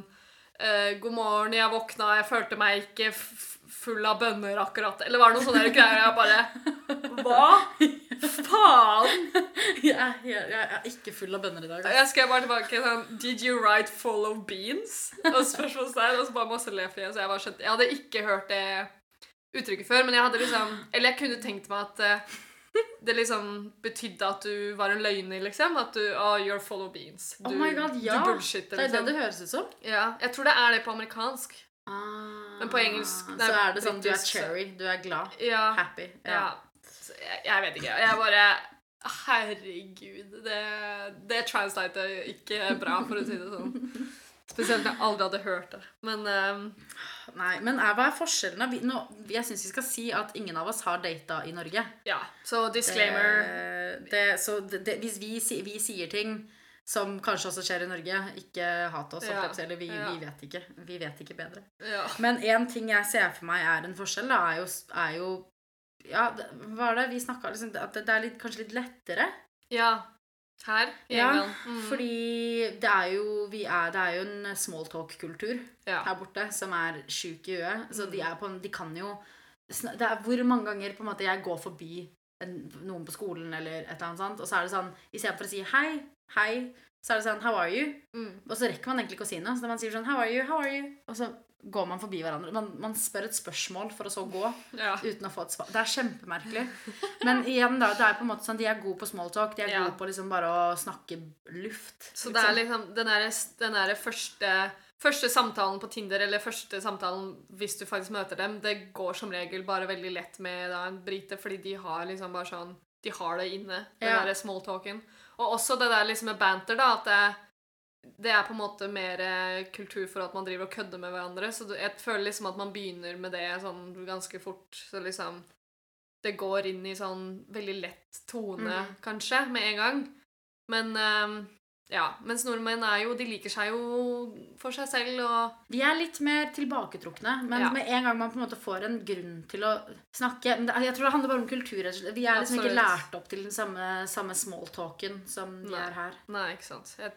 Speaker 1: eh, 'God morgen, jeg våkna, jeg følte meg ikke f full av bønner akkurat' Eller var det noen sånne her greier? Jeg bare Hva faen?
Speaker 2: Jeg, er helt- jeg er ikke full av bønner i dag. altså. ass.
Speaker 1: Jeg skrev bare tilbake sånn Did you write 'full of beans'? Og spørsmålstegn, og så bare masse le fordi jeg- Så jeg bare skjønte Jeg hadde ikke hørt det uttrykket før, men jeg hadde liksom Eller jeg kunne tenkt meg at eh, det liksom betydde at du var en løgner, liksom. At du oh, you're full of beans. Du,
Speaker 2: Oh my god, ja.
Speaker 1: du bullshitter,
Speaker 2: Det er det
Speaker 1: liksom.
Speaker 2: det høres ut som.
Speaker 1: Ja, jeg tror det er det på amerikansk.
Speaker 2: Ah.
Speaker 1: Men på engelsk- nei,
Speaker 2: Så er det sånn du er
Speaker 1: britisk, så-
Speaker 2: cherry, du er glad,
Speaker 1: Ja.
Speaker 2: happy.
Speaker 1: ja. Så Jeg, jeg vet ikke. Jeg bare Herregud. Det, det translate er ikke bra, for å si det sånn. Spesielt når jeg aldri hadde hørt det. Men ehm,
Speaker 2: Nei, men er, hva er forskjellen? da? Vi, nå, jeg syns vi skal si at ingen av oss har data i Norge.
Speaker 1: ja, så disclaimer.
Speaker 2: Det, det, så det, det, hvis vi, si- vi sier ting som kanskje også skjer i Norge, ikke hat oss.
Speaker 1: Ja.
Speaker 2: holdt jeg på å si, Eller vi,
Speaker 1: Ja.
Speaker 2: vi vet ikke. Vi vet ikke bedre.
Speaker 1: Ja.
Speaker 2: Men én ting jeg ser for meg er en forskjell, da, er jo, er jo Ja, det, hva er det vi snakka liksom, At det, det er litt, kanskje litt lettere.
Speaker 1: ja. Her i
Speaker 2: Ja,
Speaker 1: England. Mm.
Speaker 2: Fordi det er jo, vi er, det er jo en smalltalk-kultur
Speaker 1: Ja. Mm.
Speaker 2: her borte som er sjuk i huet. Så de, er på, en- de kan jo sn- Det er hvor mange ganger på en måte jeg går forbi en, noen på skolen eller et eller annet sånt, og så er det sånn Istedenfor å si hei, hei, så er det sånn How are you?
Speaker 1: Mm.
Speaker 2: Og så rekker man egentlig ikke å si noe. Så man sier sånn How are you? How are you? Og så går man forbi hverandre. Man, man spør et spørsmål for å så gå
Speaker 1: Ja.
Speaker 2: uten å få et svar. Det er kjempemerkelig. Men igjen, da. Det er på en måte sånn De er gode på smalltalk. De er
Speaker 1: Ja.
Speaker 2: gode på liksom bare å snakke luft.
Speaker 1: Så det er liksom den der, den der første, første samtalen på Tinder, eller første samtalen hvis du faktisk møter dem, det går som regel bare veldig lett med da, en brite, fordi de har liksom bare sånn De har det inne, den
Speaker 2: Ja.
Speaker 1: der smalltalken. Og også det der liksom med banter, da, at det, det er på en måte mer eh, kultur for at man driver og kødder med hverandre, så du, jeg føler liksom at man begynner med det sånn ganske fort, så liksom det går inn i sånn veldig lett tone,
Speaker 2: Mhm.
Speaker 1: kanskje, med en gang. Men ehm, ja, mens nordmenn er jo, de liker seg jo for seg selv og
Speaker 2: De er litt mer tilbaketrukne, men
Speaker 1: Ja.
Speaker 2: med en gang man på en måte får en grunn til å snakke men det, Jeg tror det handler bare om kultur. rett og slett. Vi er liksom ikke
Speaker 1: Absolutt.
Speaker 2: lært opp til den samme, samme smalltalken som de
Speaker 1: Nei.
Speaker 2: er her.
Speaker 1: Nei, ikke sant. Jeg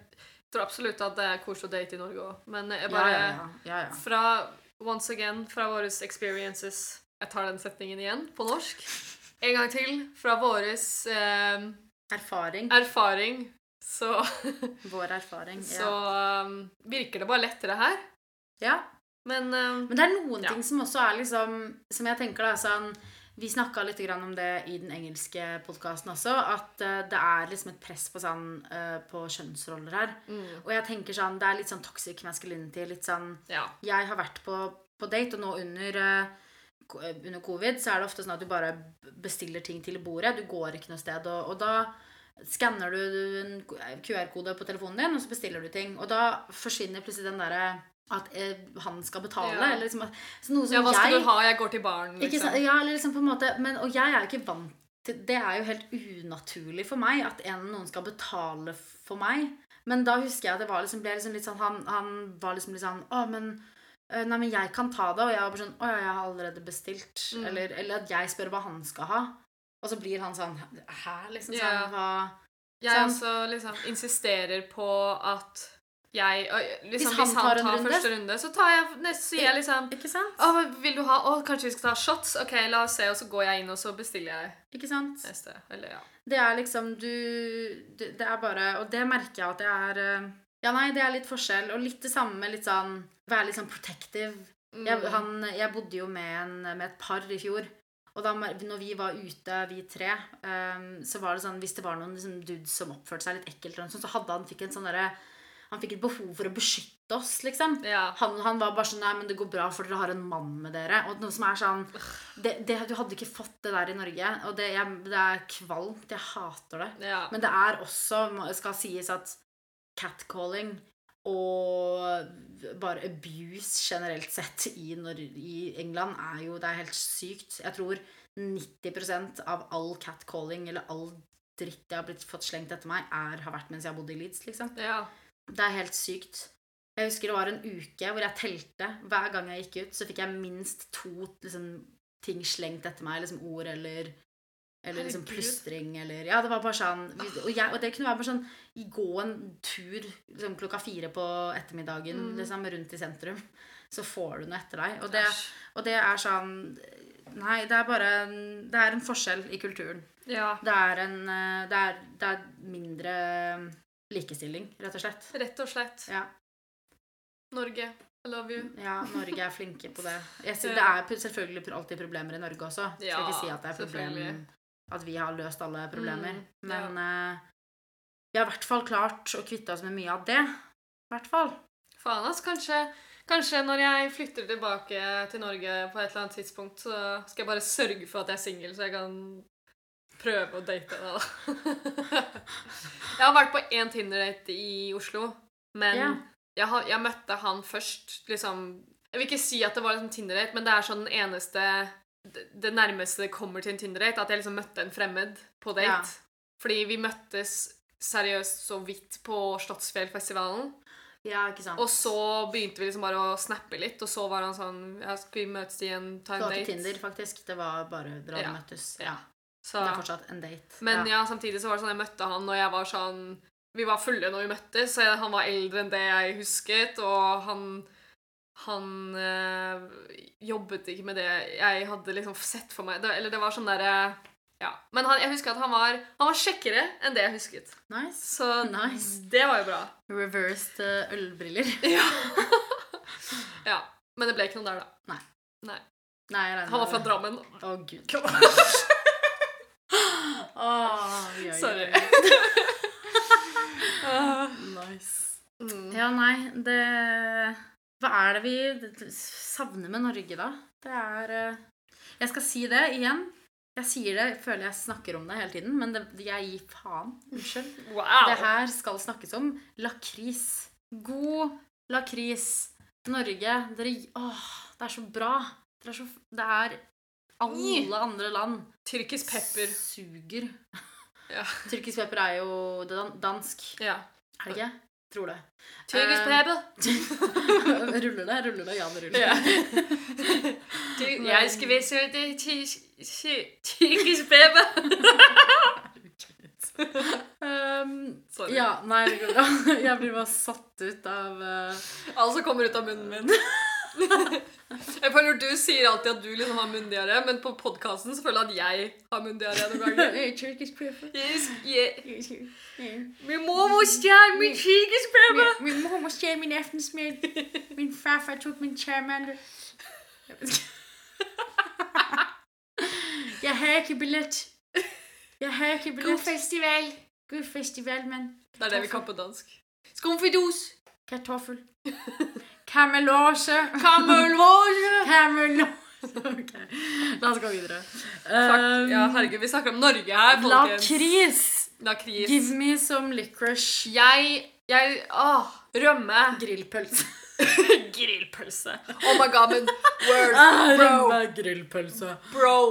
Speaker 1: tror absolutt at det er koselig å date i Norge òg, men jeg
Speaker 2: Ja,
Speaker 1: bare
Speaker 2: ja, ja. ja, ja.
Speaker 1: Fra Once again, fra våre experiences Jeg tar den setningen igjen, på norsk. En gang til. Fra vår
Speaker 2: Erfaring.
Speaker 1: Eh, erfaring så,
Speaker 2: Vår erfaring.
Speaker 1: så
Speaker 2: Ja.
Speaker 1: ehm, virker det bare lettere her.
Speaker 2: ja.
Speaker 1: Men ehm,
Speaker 2: Men det er noen
Speaker 1: Ja.
Speaker 2: ting som også er liksom Som jeg tenker da, sånn Vi snakka litt grann om det i den engelske podkasten også, at eh, det er liksom et press på sånn eh, På kjønnsroller her.
Speaker 1: mm,
Speaker 2: Og jeg tenker sånn Det er litt sånn toxic masculinity. Litt sånn
Speaker 1: ja.
Speaker 2: jeg har vært på, på date, og nå under, eh, ko- eh, under covid, så er det ofte sånn at du bare bestiller ting til bordet. Du går ikke noe sted. Og, og da skanner du en QR-kode på telefonen din, og så bestiller du ting. Og da forsvinner plutselig den derre at eh, han skal betale.
Speaker 1: Ja.
Speaker 2: Eller liksom, at- så noe som
Speaker 1: ja, hva skal
Speaker 2: jeg
Speaker 1: du ha? Jeg går til baren,
Speaker 2: ikke sant?
Speaker 1: liksom.
Speaker 2: Ja, eller liksom på en måte men, Og jeg er jo ikke vant til Det er jo helt unaturlig for meg at en noen skal betale for meg. Men da husker jeg at det var liksom, ble liksom litt sånn han, han var liksom litt sånn Å, men øh, Nei, men jeg kan ta det. Og jeg var bare sånn Å ja, jeg har allerede bestilt.
Speaker 1: Mm.
Speaker 2: Eller, eller at jeg spør hva han skal ha. Og så blir han sånn Hæ? Liksom sånn
Speaker 1: Ja.
Speaker 2: hva
Speaker 1: Jeg
Speaker 2: Sånn.
Speaker 1: også liksom insisterer på at jeg og, liksom, hvis, han tar,
Speaker 2: en runde?
Speaker 1: første runde, så tar jeg neste sier jeg liksom
Speaker 2: Ikke sant?
Speaker 1: å, hva vil du ha? Å, kanskje vi skal ta shots? Ok, la oss se, og så går jeg inn, og så bestiller jeg
Speaker 2: Ikke sant?
Speaker 1: neste. Eller ja.
Speaker 2: Det er liksom du du- Det er bare Og det merker jeg at det er eh, Ja, nei, det er litt forskjell. Og litt det samme med litt sånn Være litt sånn protective.
Speaker 1: Mm.
Speaker 2: Jeg, han, jeg bodde jo med, en, med et par i fjor. Og da mer- når vi var ute, vi tre, eh, så var det sånn Hvis det var noen liksom, dudes som oppførte seg litt ekkelt, eller noe sånt, så hadde han fikk en sånn derre Han fikk et behov for å beskytte oss, liksom.
Speaker 1: ja.
Speaker 2: Han, han var bare sånn Nei, men det går bra, for dere har en mann med dere. Og noe som er sånn det, det, Du hadde ikke fått det der i Norge. Og det, jeg, det er kvalmt. Jeg hater det.
Speaker 1: ja.
Speaker 2: Men det er også, må- skal sies, at catcalling og bare abuse generelt sett i, Nor i England er jo Det er helt sykt. Jeg tror 90 av all catcalling eller all dritt jeg har blitt fått slengt etter meg, er, har vært mens jeg har bodd i Leeds, liksom.
Speaker 1: ja.
Speaker 2: Det er helt sykt. Jeg husker det var en uke hvor jeg telte. Hver gang jeg gikk ut, så fikk jeg minst to liksom, ting slengt etter meg. Liksom ord eller eller liksom
Speaker 1: Herregud.
Speaker 2: plystring eller Ja, det var bare sånn vi- Og, jeg, og det kunne være bare sånn Gå en tur liksom, klokka fire på ettermiddagen
Speaker 1: Mm.
Speaker 2: liksom, rundt i sentrum, så får du noe etter deg. Og det,
Speaker 1: Æsj.
Speaker 2: og det er sånn Nei, det er bare en- Det er en forskjell i kulturen.
Speaker 1: Ja.
Speaker 2: Det er en eh, Det er, det er mindre eh, likestilling, rett og slett.
Speaker 1: Rett og slett.
Speaker 2: Ja.
Speaker 1: Norge, I love you.
Speaker 2: Ja, Norge er flinke på det. Jeg sier, det
Speaker 1: Ja.
Speaker 2: er pu- selvfølgelig pr- alltid problemer i Norge også. Skal
Speaker 1: Ja,
Speaker 2: ikke si at det er problem
Speaker 1: selvfølgelig.
Speaker 2: at vi har løst alle problemer.
Speaker 1: Mm, ja.
Speaker 2: Men eh, vi har i hvert fall klart å kvitte oss med mye av det. I hvert fall.
Speaker 1: Faen, ass. Kanskje, kanskje når jeg flytter tilbake til Norge på et eller annet tidspunkt, så skal jeg bare sørge for at jeg er singel, så jeg kan prøve å date deg, da. jeg har vært på én Tinder-date i Oslo, men
Speaker 2: Ja.
Speaker 1: jeg, har, jeg møtte han først, liksom Jeg vil ikke si at det var liksom Tinder-date, men det er sånn den eneste det- Det nærmeste det kommer til en Tinder-date, at jeg liksom møtte en fremmed på date.
Speaker 2: Ja.
Speaker 1: Fordi vi møttes seriøst så vidt på Slottsfjellfestivalen.
Speaker 2: Ja, ikke sant.
Speaker 1: Og så begynte vi liksom bare å snappe litt, og så var han sånn ja, Skal vi møtes igjen? Ta
Speaker 2: det
Speaker 1: en
Speaker 2: var ikke
Speaker 1: date?
Speaker 2: Tinder, faktisk. Det var bare dere hadde
Speaker 1: Ja.
Speaker 2: møttes.
Speaker 1: Ja.
Speaker 2: Ja.
Speaker 1: Så,
Speaker 2: Det er fortsatt en date.
Speaker 1: men ja, samtidig så var det sånn jeg møtte han, og jeg var sånn Vi var fulle når vi møttes, så jeg, han var eldre enn det jeg husket, og han han eh, jobbet ikke med det jeg hadde liksom sett for meg. Det, eller det var sånn derre Ja. Men han, jeg husker at han var, han var kjekkere enn det jeg husket.
Speaker 2: Nice.
Speaker 1: Så
Speaker 2: Nice.
Speaker 1: det var jo bra.
Speaker 2: Reversed eh, ølbriller.
Speaker 1: Ja. ja. Men det ble ikke noe der, da.
Speaker 2: Nei, jeg regner
Speaker 1: Han var fra
Speaker 2: med det.
Speaker 1: Drammen.
Speaker 2: Å, gud. Åh, oi, oi, oi.
Speaker 1: Sorry.
Speaker 2: Nice.
Speaker 1: Mm.
Speaker 2: Ja, nei, det Hva er det vi savner med Norge, da? Det er eh, Jeg skal si det igjen. Jeg sier det, føler jeg snakker om det hele tiden, men det, jeg gir faen. Unnskyld. Det
Speaker 1: Wow.
Speaker 2: her skal snakkes om. Lakris. God lakris. Norge, dere Åh, det er så bra. Dere er så Det er Alle andre land
Speaker 1: Tyrkisk pepper.
Speaker 2: suger.
Speaker 1: Ja.
Speaker 2: Tyrkisk pepper er jo dan- dansk,
Speaker 1: Ja. Eh,
Speaker 2: er det ikke? Tror det.
Speaker 1: Tyrkisk
Speaker 2: Um,
Speaker 1: pepper.
Speaker 2: ruller det, ruller det, ja, det ruller.
Speaker 1: Ja. Ty- Jeg skal vise deg ty- ty- ty- tyrkisk pepper.
Speaker 2: Um,
Speaker 1: Sorry.
Speaker 2: ja, nei, det går bra. Jeg blir bare satt ut av eh,
Speaker 1: Alt som kommer ut av munnen min. Jeg føler Du sier alltid at du liksom har munndiaré, men på podkasten føler jeg at jeg har munndiaré noen ganger.
Speaker 2: Turkish pepper.
Speaker 1: Jeg sk- jeg-
Speaker 2: Min
Speaker 1: Min mormor stjal min tyrkisk pepper!
Speaker 2: min mormor stjal min aftensmid. Min farfar tok min charmander. Jeg har ikke billett. Jeg har ikke billett.
Speaker 1: festival!
Speaker 2: God festival, mann.
Speaker 1: Det er det vi kan på dansk. Skumfidus!
Speaker 2: Kartoffel. Kamelose.
Speaker 1: Kamelvåse!
Speaker 2: Kamelose. Ok, la oss gå videre. Um,
Speaker 1: Ja, herregud, vi snakker om Norge her, folkens.
Speaker 2: Lakris!
Speaker 1: Lakris.
Speaker 2: Give me some licorice.
Speaker 1: Jeg Jeg Åh! Rømme.
Speaker 2: Grillpølse.
Speaker 1: Grillpølse. Oh my god, men word. Bro.
Speaker 2: Rømme grillpølse.
Speaker 1: Bro.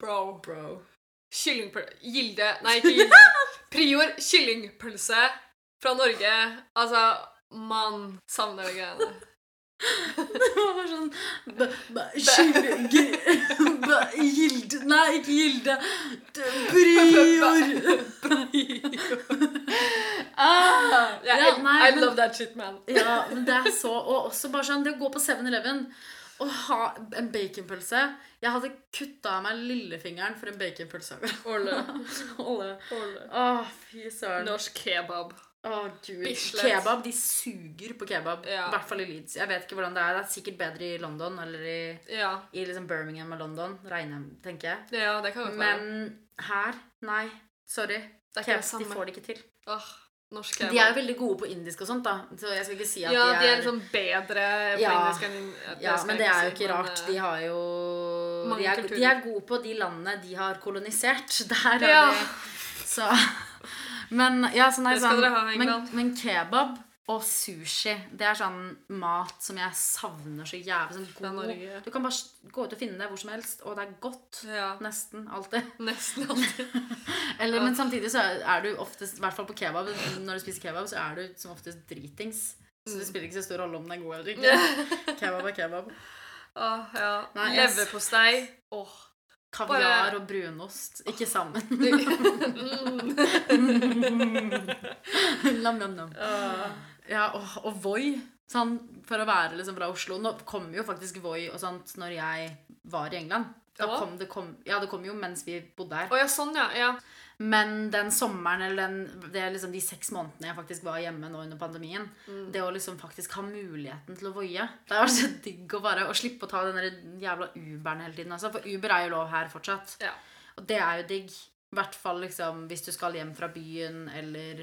Speaker 1: Bro.
Speaker 2: Bro.
Speaker 1: Kyllingpølse Gilde Nei, ikke Gilde. Prior kyllingpølse fra Norge. Altså, mann. Savner de greiene.
Speaker 2: Det var bare sånn b b skyld- gri- b Gilde Nei, ikke Gilde. D- Prior. Ah,
Speaker 1: Ja,
Speaker 2: ja,
Speaker 1: I,
Speaker 2: nei,
Speaker 1: I
Speaker 2: men-
Speaker 1: love that shit, man.
Speaker 2: Ja, men det er så Og også bare sånn, det å gå på 7-Eleven og ha en baconpølse Jeg hadde kutta av meg lillefingeren for en baconpølse.
Speaker 1: Orle.
Speaker 2: Åh, fy søren.
Speaker 1: Norsk kebab.
Speaker 2: Åh, Gud.
Speaker 1: Bislett.
Speaker 2: Kebab, de suger på kebab. I
Speaker 1: Ja.
Speaker 2: hvert fall i Leeds. Jeg vet ikke hvordan det er. Det er sikkert bedre i London eller i,
Speaker 1: Ja.
Speaker 2: i liksom Birmingham og London, regner jeg tenker jeg.
Speaker 1: ja, det kan godt være.
Speaker 2: Men her Nei. Sorry.
Speaker 1: Det er ikke det
Speaker 2: Kebab, de
Speaker 1: samme.
Speaker 2: får det ikke til.
Speaker 1: Åh, norsk kebab.
Speaker 2: De er jo veldig gode på indisk og sånt, da. Så jeg skal ikke si at
Speaker 1: ja,
Speaker 2: de er
Speaker 1: liksom bedre på
Speaker 2: Ja.
Speaker 1: engelsk enn ja,
Speaker 2: Ja,
Speaker 1: skal jeg
Speaker 2: men det er jo
Speaker 1: si,
Speaker 2: ikke
Speaker 1: men,
Speaker 2: rart.
Speaker 1: eh,
Speaker 2: De har jo
Speaker 1: Mange
Speaker 2: de er,
Speaker 1: kulturer.
Speaker 2: de er gode på de landene de har kolonisert. Der er
Speaker 1: Ja.
Speaker 2: de Så Men ja, så nei,
Speaker 1: Det skal
Speaker 2: sånn,
Speaker 1: dere ha,
Speaker 2: men,
Speaker 1: England.
Speaker 2: men kebab og sushi, det er sånn mat som jeg savner så jævlig.
Speaker 1: Fra
Speaker 2: Sånn god
Speaker 1: Norge.
Speaker 2: Du kan bare s- gå ut og finne det hvor som helst, og det er godt.
Speaker 1: Ja.
Speaker 2: Nesten alltid.
Speaker 1: Nesten alltid.
Speaker 2: Eller,
Speaker 1: Ja.
Speaker 2: Men samtidig så er er du oftest, i hvert fall på kebab, når du spiser kebab, så er du som oftest dritings. Så det
Speaker 1: Mm.
Speaker 2: spiller ikke så stor rolle om den er god eller ikke. Kebab er kebab.
Speaker 1: Åh, ja.
Speaker 2: Nei, jeg s-
Speaker 1: Leverpostei. Åh.
Speaker 2: Kaviar
Speaker 1: Bare-
Speaker 2: og brunost. Ikke sammen.
Speaker 1: Mm.
Speaker 2: nam, nam, nam.
Speaker 1: Åh.
Speaker 2: Ja, og, og Voi. Sånn, for å være liksom fra Oslo Nå kom jo faktisk Voi og sånt når jeg var i England. Da
Speaker 1: Ja.
Speaker 2: kom det, kom, ja, det kom jo mens vi bodde her.
Speaker 1: Å ja, sånn, ja. ja.
Speaker 2: Men den sommeren, eller den, det er liksom de seks månedene jeg faktisk var hjemme nå under pandemien
Speaker 1: Mm.
Speaker 2: Det å liksom faktisk ha muligheten til å voie Det har vært så digg å bare å slippe å ta den der jævla Uberen hele tiden. Altså, for Uber er jo lov her fortsatt.
Speaker 1: Ja.
Speaker 2: Og det er jo digg. I hvert fall liksom, hvis du skal hjem fra byen, eller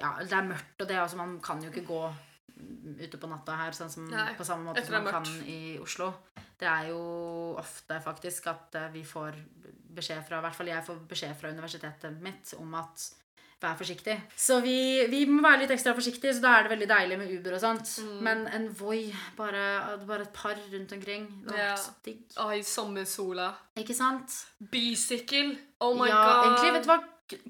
Speaker 2: ja, det er mørkt, og det er altså, man kan jo ikke gå mm, ute på natta her sånn som,
Speaker 1: Nei,
Speaker 2: på samme måte
Speaker 1: etter
Speaker 2: som
Speaker 1: det er
Speaker 2: man kan
Speaker 1: mørkt.
Speaker 2: i Oslo. Det er jo ofte faktisk at eh, vi får beskjed fra, i hvert fall jeg får beskjed fra universitetet mitt om at vær forsiktig. Så vi, vi må være litt ekstra forsiktige, så da er det veldig deilig med Uber og sånt.
Speaker 1: Mm.
Speaker 2: Men en Voi, bare, bare et par rundt omkring, det har
Speaker 1: Ja.
Speaker 2: vært så digg.
Speaker 1: Å, i sommersola.
Speaker 2: Ikke sant?
Speaker 1: Bysykkel. Oh my
Speaker 2: ja,
Speaker 1: god.
Speaker 2: egentlig, vet du hva?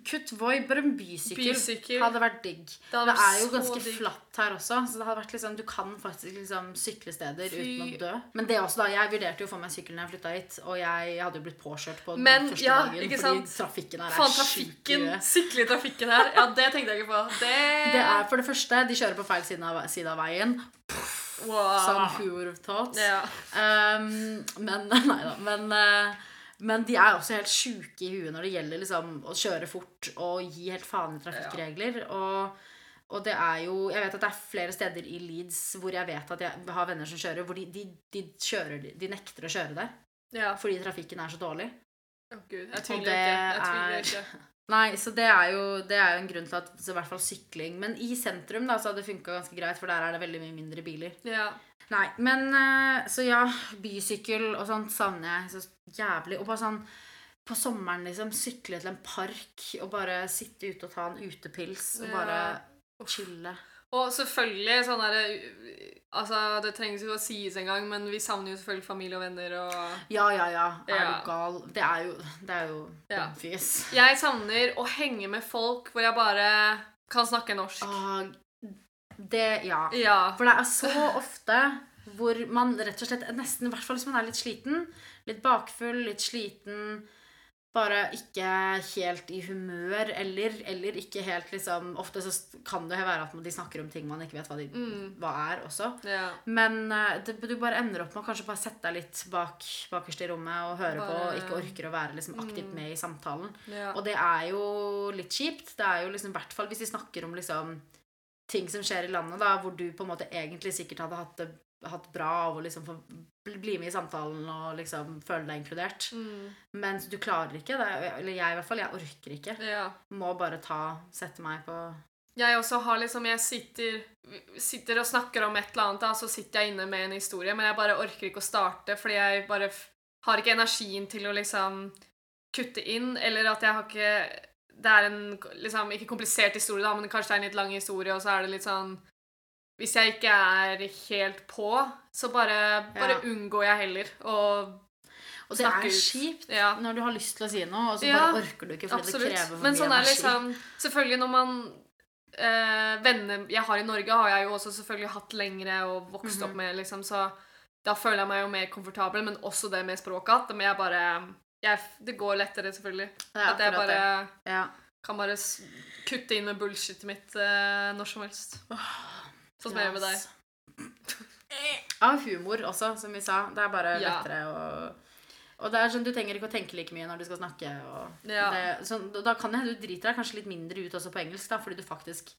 Speaker 2: Kutt Voi, bare en bysykkel.
Speaker 1: Bysykkel.
Speaker 2: Hadde vært digg.
Speaker 1: Det hadde
Speaker 2: Det
Speaker 1: vært
Speaker 2: er jo
Speaker 1: så
Speaker 2: ganske
Speaker 1: digg.
Speaker 2: flatt her også, så det hadde vært liksom, du kan faktisk liksom sykle steder
Speaker 1: Fy.
Speaker 2: uten å dø. Men det er også da, jeg vurderte jo å få meg sykkel når jeg flytta hit, og jeg hadde jo blitt påkjørt på den
Speaker 1: Men,
Speaker 2: første
Speaker 1: ja,
Speaker 2: dagen
Speaker 1: ikke
Speaker 2: fordi trafikken her
Speaker 1: Faen,
Speaker 2: er sjuk. i
Speaker 1: trafikken.
Speaker 2: huet.
Speaker 1: Sykle i trafikken her. Ja, det tenkte jeg ikke på. Det,
Speaker 2: Det er for det første, de kjører på feil side av, side av veien,
Speaker 1: wow. Ah.
Speaker 2: som who would have thought.
Speaker 1: Ja.
Speaker 2: Um, men Nei da. Men eh, Men de er også helt sjuke i huet når det gjelder liksom, å kjøre fort og gi helt faen i trafikkregler. Og, og det er jo Jeg vet at det er flere steder i Leeds hvor jeg vet at jeg har venner som kjører, hvor de, de, de, kjører, de nekter å kjøre der
Speaker 1: Ja.
Speaker 2: fordi trafikken er så dårlig.
Speaker 1: Å gud, jeg
Speaker 2: Og
Speaker 1: tviler
Speaker 2: det
Speaker 1: ikke. Jeg tviler
Speaker 2: er-
Speaker 1: ikke.
Speaker 2: Nei, så det er jo, det er jo en grunn til at så i hvert fall sykling Men i sentrum da, så hadde det funka ganske greit, for der er det veldig mye mindre biler.
Speaker 1: Ja.
Speaker 2: Nei, men eh, Så ja, bysykkel og sånt savner jeg så jævlig. Og bare sånn på sommeren, liksom, sykle til en park og bare sitte ute og ta en utepils og bare
Speaker 1: Ja.
Speaker 2: chille.
Speaker 1: Og selvfølgelig sånn er det Altså, det trengs jo å sies en gang, men vi savner jo selvfølgelig familie og venner og
Speaker 2: Ja, ja, ja. Er
Speaker 1: Ja.
Speaker 2: du gal? Det er jo Det er jo
Speaker 1: Ja.
Speaker 2: obvious.
Speaker 1: Jeg savner å henge med folk hvor jeg bare kan snakke norsk.
Speaker 2: Ah, det Ja.
Speaker 1: Ja.
Speaker 2: For det er så ofte hvor man rett og slett nesten, i hvert fall hvis man er litt sliten, litt bakfull, litt sliten, bare ikke helt i humør, eller, eller ikke helt liksom Ofte så kan det jo være at de snakker om ting man ikke vet hva, de,
Speaker 1: Mm.
Speaker 2: hva er også.
Speaker 1: ja.
Speaker 2: Men eh, det, du bare ender opp med å kanskje bare sette deg litt bak, bakerst i rommet og høre på, og
Speaker 1: Bare- Mm.
Speaker 2: ikke orker å være liksom aktivt med i samtalen.
Speaker 1: ja.
Speaker 2: Og det er jo litt kjipt. Det er jo liksom, i hvert fall hvis vi snakker om liksom, ting som skjer i landet, da, hvor du på en måte egentlig sikkert hadde hatt det hatt bra av å liksom få bl- bli med i samtalen og liksom føle deg inkludert.
Speaker 1: Mm.
Speaker 2: Mens du klarer ikke det. Eller jeg i hvert fall. Jeg orker ikke.
Speaker 1: ja.
Speaker 2: Må bare ta Sette meg på
Speaker 1: Jeg også har liksom Jeg sitter, sitter og snakker om et eller annet, da, så sitter jeg inne med en historie, men jeg bare orker ikke å starte, fordi jeg bare f- har ikke energien til å liksom kutte inn, eller at jeg har ikke Det er en liksom ikke komplisert historie, da, men kanskje det er en litt lang historie, og så er det litt sånn Hvis jeg ikke er helt på, så bare, bare
Speaker 2: Ja.
Speaker 1: unngår jeg heller å
Speaker 2: Og det
Speaker 1: Snakke
Speaker 2: er
Speaker 1: ut.
Speaker 2: kjipt
Speaker 1: Ja.
Speaker 2: når du har lyst til å si noe, og så
Speaker 1: Ja,
Speaker 2: bare orker du ikke fordi det krever
Speaker 1: Absolutt.
Speaker 2: for
Speaker 1: Men
Speaker 2: mye
Speaker 1: sånn er
Speaker 2: energi.
Speaker 1: liksom Selvfølgelig når man eh, Venner jeg har i Norge, har jeg jo også selvfølgelig hatt lengre og vokst
Speaker 2: Mhm.
Speaker 1: opp med, liksom, så da føler jeg meg jo mer komfortabel, men også det med språket at men jeg bare jeg, Det går lettere, selvfølgelig.
Speaker 2: Det er
Speaker 1: at jeg
Speaker 2: akkurat
Speaker 1: bare
Speaker 2: det. Ja.
Speaker 1: kan bare s- kutte inn med bullshitet mitt eh, når som helst. Sånn som jeg gjør med deg.
Speaker 2: Av humor også, som vi sa. Det er bare
Speaker 1: Ja.
Speaker 2: lettere å Og det er sånn, du trenger ikke å tenke like mye når du skal snakke. Og
Speaker 1: Ja.
Speaker 2: det, sånn, da- da kan det hende du driter deg kanskje litt mindre ut også på engelsk, da, fordi du faktisk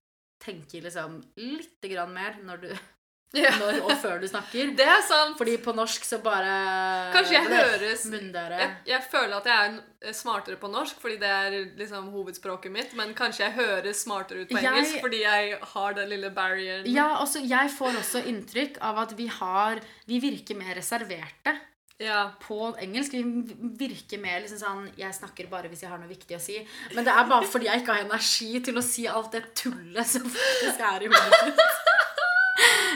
Speaker 2: tenker liksom lite grann mer når du,
Speaker 1: Ja.
Speaker 2: når og før du snakker.
Speaker 1: Det er sant.
Speaker 2: Fordi på norsk så bare
Speaker 1: Kanskje jeg
Speaker 2: bløff,
Speaker 1: høres-
Speaker 2: Munndøre.
Speaker 1: Jeg, jeg føler at jeg er en- smartere på norsk, fordi det er liksom hovedspråket mitt, men kanskje jeg høres smartere ut på
Speaker 2: Jeg-
Speaker 1: engelsk fordi jeg har den lille barrieren.
Speaker 2: Ja, også, jeg får også inntrykk av at vi har Vi virker mer reserverte.
Speaker 1: Ja.
Speaker 2: på engelsk virker mer liksom sånn Jeg snakker bare hvis jeg har noe viktig å si. Men det er bare fordi jeg ikke har energi til å si alt det tullet som faktisk er i hodet mitt.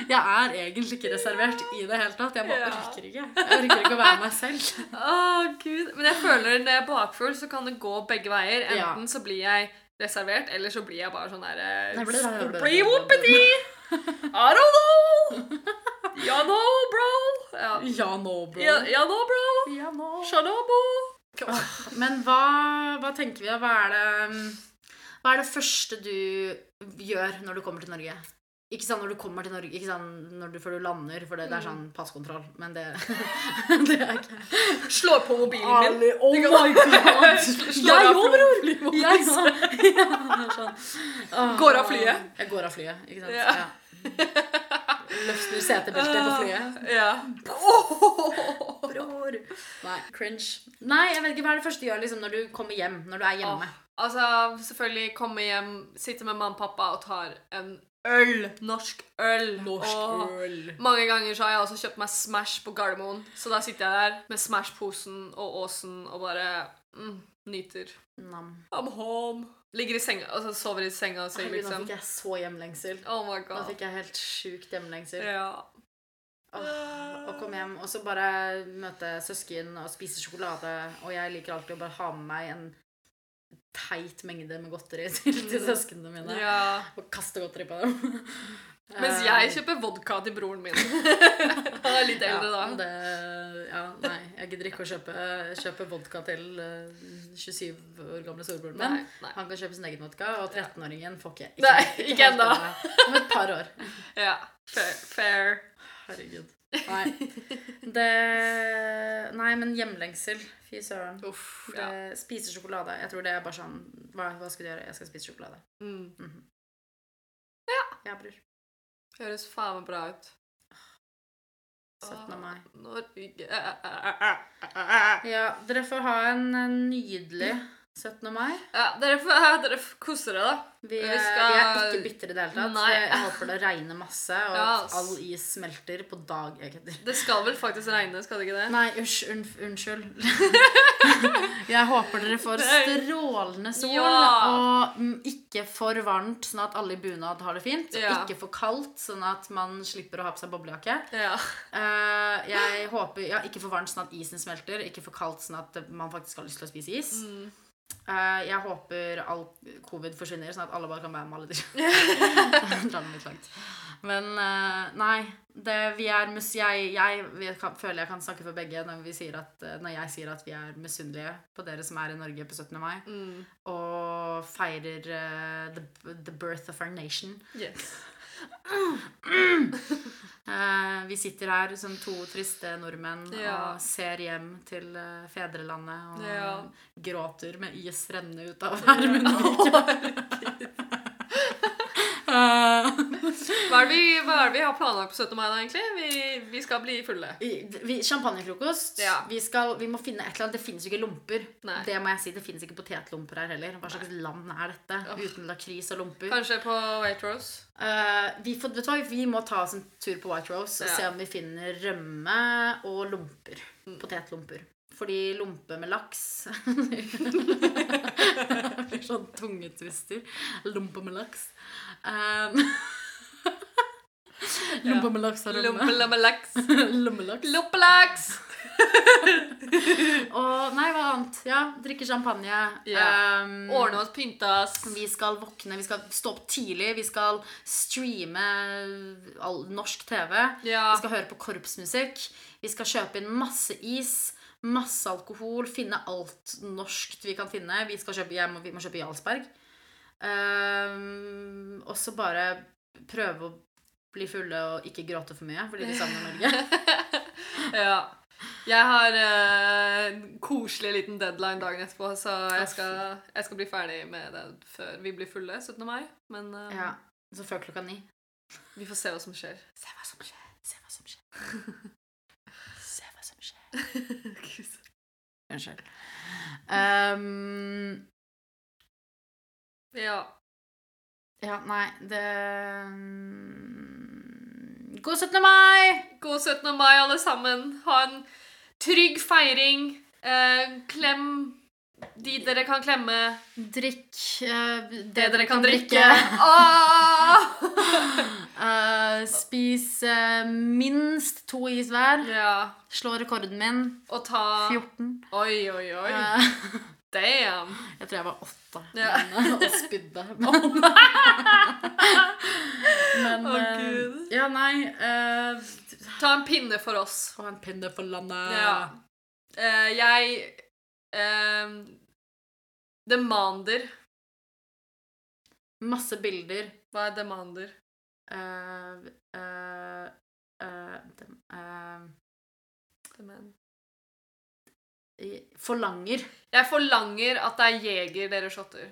Speaker 2: Jeg er egentlig ikke reservert i det hele tatt. Jeg bare
Speaker 1: Ja.
Speaker 2: orker ikke. Jeg orker ikke å være meg selv.
Speaker 1: Å, gud. Men jeg føler når jeg er bakfull, så kan det gå begge veier.
Speaker 2: Ja.
Speaker 1: Enten så blir jeg reservert, eller så blir jeg bare sånn derre
Speaker 2: Nei, blir det-
Speaker 1: Bli whoopity! I don't know! Ja no, bro! Ja,
Speaker 2: Ja nå, bro.
Speaker 1: ja, ja no, bro!
Speaker 2: Ja, nå.
Speaker 1: Shanobo!
Speaker 2: Men hva, hva tenker vi, da? Hva er det Hva er det første du gjør når du kommer til Norge? Ikke sånn når du kommer til Norge, ikke sånn når du, før du lander, for det, det er sånn
Speaker 1: Mm.
Speaker 2: passkontroll. Men det, det er ikke
Speaker 1: Slår på mobilen min.
Speaker 2: Ali, oh my god!
Speaker 1: Slår
Speaker 2: Jeg
Speaker 1: av
Speaker 2: òg, bror! Jeg òg.
Speaker 1: Går av flyet.
Speaker 2: sånn. Jeg går av flyet, ikke sant.
Speaker 1: Ja.
Speaker 2: Ja. Løfter setebeltet på flyet.
Speaker 1: Ah, Ja.
Speaker 2: Bror. Nei, cringe. Nei, jeg vet ikke, Hva er det første du gjør liksom, når du kommer hjem? Når du er hjemme?
Speaker 1: Altså, selvfølgelig komme hjem, sitte med mamma og pappa og tar en øl. Norsk øl. og
Speaker 2: øl.
Speaker 1: mange ganger så har jeg også kjøpt meg Smash på Gardermoen. Så da sitter jeg der med Smash-posen og Åsen og bare mm, nyter.
Speaker 2: Nam.
Speaker 1: I'm home. Ligger i senga, altså sover i senga og ser
Speaker 2: Herregud, nå
Speaker 1: liksom.
Speaker 2: fikk jeg så hjemlengsel.
Speaker 1: Oh my
Speaker 2: Nå
Speaker 1: god.
Speaker 2: fikk jeg helt sjukt hjemlengsel.
Speaker 1: Ja.
Speaker 2: Åh, Å komme hjem og så bare møte søsken og spise sjokolade. Og jeg liker alltid å bare ha med meg en teit mengde med godteri til, til søsknene mine.
Speaker 1: ja.
Speaker 2: Og kaste godteri på dem.
Speaker 1: Mens
Speaker 2: Eh,
Speaker 1: jeg kjøper vodka til broren min. Han er litt eldre
Speaker 2: ja,
Speaker 1: da.
Speaker 2: det, ja, nei, jeg gidder ikke å kjøpe, kjøpe vodka til eh, 27 år gamle storebroren min.
Speaker 1: Nei, nei.
Speaker 2: Han kan kjøpe sin egen vodka, og 13-åringen får ikke.
Speaker 1: Nei, ikke
Speaker 2: helt
Speaker 1: ennå.
Speaker 2: ennå. Om et par år.
Speaker 1: Ja. Fair. fair.
Speaker 2: Herregud. Nei. Det Nei, men hjemlengsel. Fy søren.
Speaker 1: Uff, ja.
Speaker 2: Det- Spise eh, sjokolade. Jeg tror det er bare sånn Hva, hva skal du gjøre? Jeg skal spise sjokolade.
Speaker 1: Mm.
Speaker 2: Ja, bror.
Speaker 1: Høres faen meg bra ut. Ah,
Speaker 2: 17. mai.
Speaker 1: eh, Norge ja,
Speaker 2: Ja, dere får ha en eh, nydelig 17. mai.
Speaker 1: Dere får eh, dere får kose dere, da.
Speaker 2: Vi
Speaker 1: Vi
Speaker 2: er,
Speaker 1: skal-
Speaker 2: vi er ikke bitre i det hele tatt.
Speaker 1: Nei.
Speaker 2: Jeg håper det regner masse, og
Speaker 1: Ja,
Speaker 2: at
Speaker 1: ass.
Speaker 2: all is smelter på dag. Jeg kødder.
Speaker 1: Det skal vel faktisk regne, skal det ikke det?
Speaker 2: Nei, usch, unf, unnskyld. jeg håper dere får
Speaker 1: Nei.
Speaker 2: strålende sol,
Speaker 1: Ja.
Speaker 2: og mm, ikke for varmt, sånn at alle i bunad har det fint. og
Speaker 1: Ja.
Speaker 2: Ikke for kaldt, sånn at man slipper å ha på seg boblejakke.
Speaker 1: Ja.
Speaker 2: Eh, jeg håper, ja, Ikke for varmt, sånn at isen smelter. Ikke for kaldt, sånn at man faktisk har lyst til å spise is.
Speaker 1: Mm.
Speaker 2: Eh, jeg håper all covid forsvinner, sånn at alle bare kan være med alle dyr. Dra den litt langt. Men eh, nei. Det, vi er mus jeg jeg vet- kan, føler jeg kan snakke for begge når, vi sier at, eh, når jeg sier at vi er misunnelige på dere som er i Norge på 17. mai,
Speaker 1: Mm.
Speaker 2: og feirer eh, the, the birth of our nation.
Speaker 1: Yes.
Speaker 2: Eh, vi sitter her som to triste nordmenn
Speaker 1: Ja.
Speaker 2: og ser hjem til eh, fedrelandet og eh,
Speaker 1: Ja.
Speaker 2: gråter med is rennende ut av hver munnvike. Eh,
Speaker 1: Hva er det vi, hva er det vi har planlagt på 17. mai, da, egentlig? Vi, vi skal bli fulle.
Speaker 2: vi, champagnefrokost.
Speaker 1: Ja.
Speaker 2: Vi, skal, vi må finne et eller annet. Det fins jo ikke lomper.
Speaker 1: Nei.
Speaker 2: Det må jeg si, det fins ikke potetlomper her heller. Hva slags land er dette
Speaker 1: Åh.
Speaker 2: uten lakris og lomper?
Speaker 1: Kanskje på Waitrose.
Speaker 2: Eh, vi, får, vet du hva, vi må ta oss en tur på White Rose og
Speaker 1: Ja.
Speaker 2: se om vi finner rømme og lomper.
Speaker 1: Mm.
Speaker 2: Potetlomper. Fordi lompe med laks Det blir sånn tungetwister. Lompe med laks. Um, lompe med laks og rømme.
Speaker 1: Lompelamelaks.
Speaker 2: Lommelaks.
Speaker 1: Loppelaks!
Speaker 2: Og nei, hva annet? Ja, drikke champagne.
Speaker 1: Ja.
Speaker 2: Um,
Speaker 1: Ordne oss, pynte oss.
Speaker 2: Vi skal våkne, vi skal stå opp tidlig, vi skal streame all, norsk TV.
Speaker 1: Ja.
Speaker 2: Vi skal høre på korpsmusikk. Vi skal kjøpe inn masse is, masse alkohol, finne alt norskt vi kan finne. Vi, skal kjøpe, jeg må, vi må kjøpe Jarlsberg. Ehm, og så bare prøve å bli fulle og ikke gråte for mye, fordi vi savner Norge.
Speaker 1: Ja. Jeg har eh, en koselig liten deadline dagen etterpå, så jeg skal, jeg skal bli ferdig med det før vi blir fulle 17. mai. Men eh,
Speaker 2: Ja, så før klokka ni.
Speaker 1: vi får se hva som skjer.
Speaker 2: Se hva som skjer, se hva som skjer. Se hva som skjer. Unnskyld. Ehm,
Speaker 1: ja.
Speaker 2: ja, nei, det mm, God 17. mai!
Speaker 1: God 17. mai, alle sammen. Ha en trygg feiring. Eh, klem de dere kan klemme.
Speaker 2: Drikk eh,
Speaker 1: Det dere kan drikke. Ah! Åh!
Speaker 2: Eh, spis eh, minst to is hver.
Speaker 1: ja.
Speaker 2: Slå rekorden min.
Speaker 1: Og ta
Speaker 2: 14.
Speaker 1: Oi, oi, oi.
Speaker 2: Eh,
Speaker 1: Damn.
Speaker 2: jeg tror jeg var åtte
Speaker 1: Ja.
Speaker 2: men, eh, og spydde. Men, men
Speaker 1: Å,
Speaker 2: eh,
Speaker 1: Gud.
Speaker 2: Ja, nei eh,
Speaker 1: Ta en pinne for oss.
Speaker 2: Få en pinne for landet.
Speaker 1: Ja. Eh, jeg eh, Demander.
Speaker 2: Masse bilder.
Speaker 1: Hva er demander?
Speaker 2: eh, eh, eh, dem- eh,
Speaker 1: Demand.
Speaker 2: i- forlanger
Speaker 1: Jeg forlanger at det er jeger dere shotter.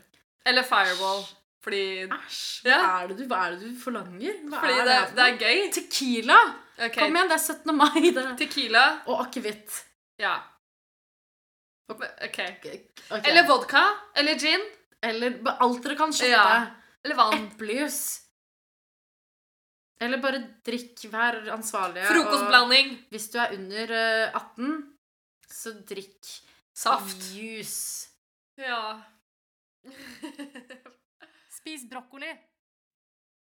Speaker 1: Eller fireball. Fordi,
Speaker 2: Æsj! Hva,
Speaker 1: Ja.
Speaker 2: er det du, hva er det du forlanger? Hva
Speaker 1: fordi
Speaker 2: er
Speaker 1: det,
Speaker 2: her for
Speaker 1: det
Speaker 2: noe?
Speaker 1: er gøy.
Speaker 2: Tequila!
Speaker 1: Ok,
Speaker 2: Kom igjen, det er 17. mai. Det.
Speaker 1: Tequila.
Speaker 2: Og akevitt.
Speaker 1: Ja. OK.
Speaker 2: Ok.
Speaker 1: Eller vodka. Eller gin.
Speaker 2: Eller ba- alt dere kan shotte.
Speaker 1: Ja. Eller vann.
Speaker 2: Eplejus. Eller bare drikk, vær ansvarlige.
Speaker 1: Frokostblanding.
Speaker 2: Og hvis du er under eh, 18, så drikk
Speaker 1: Saft.
Speaker 2: juice.
Speaker 1: Ja.
Speaker 2: Spis brokkoli.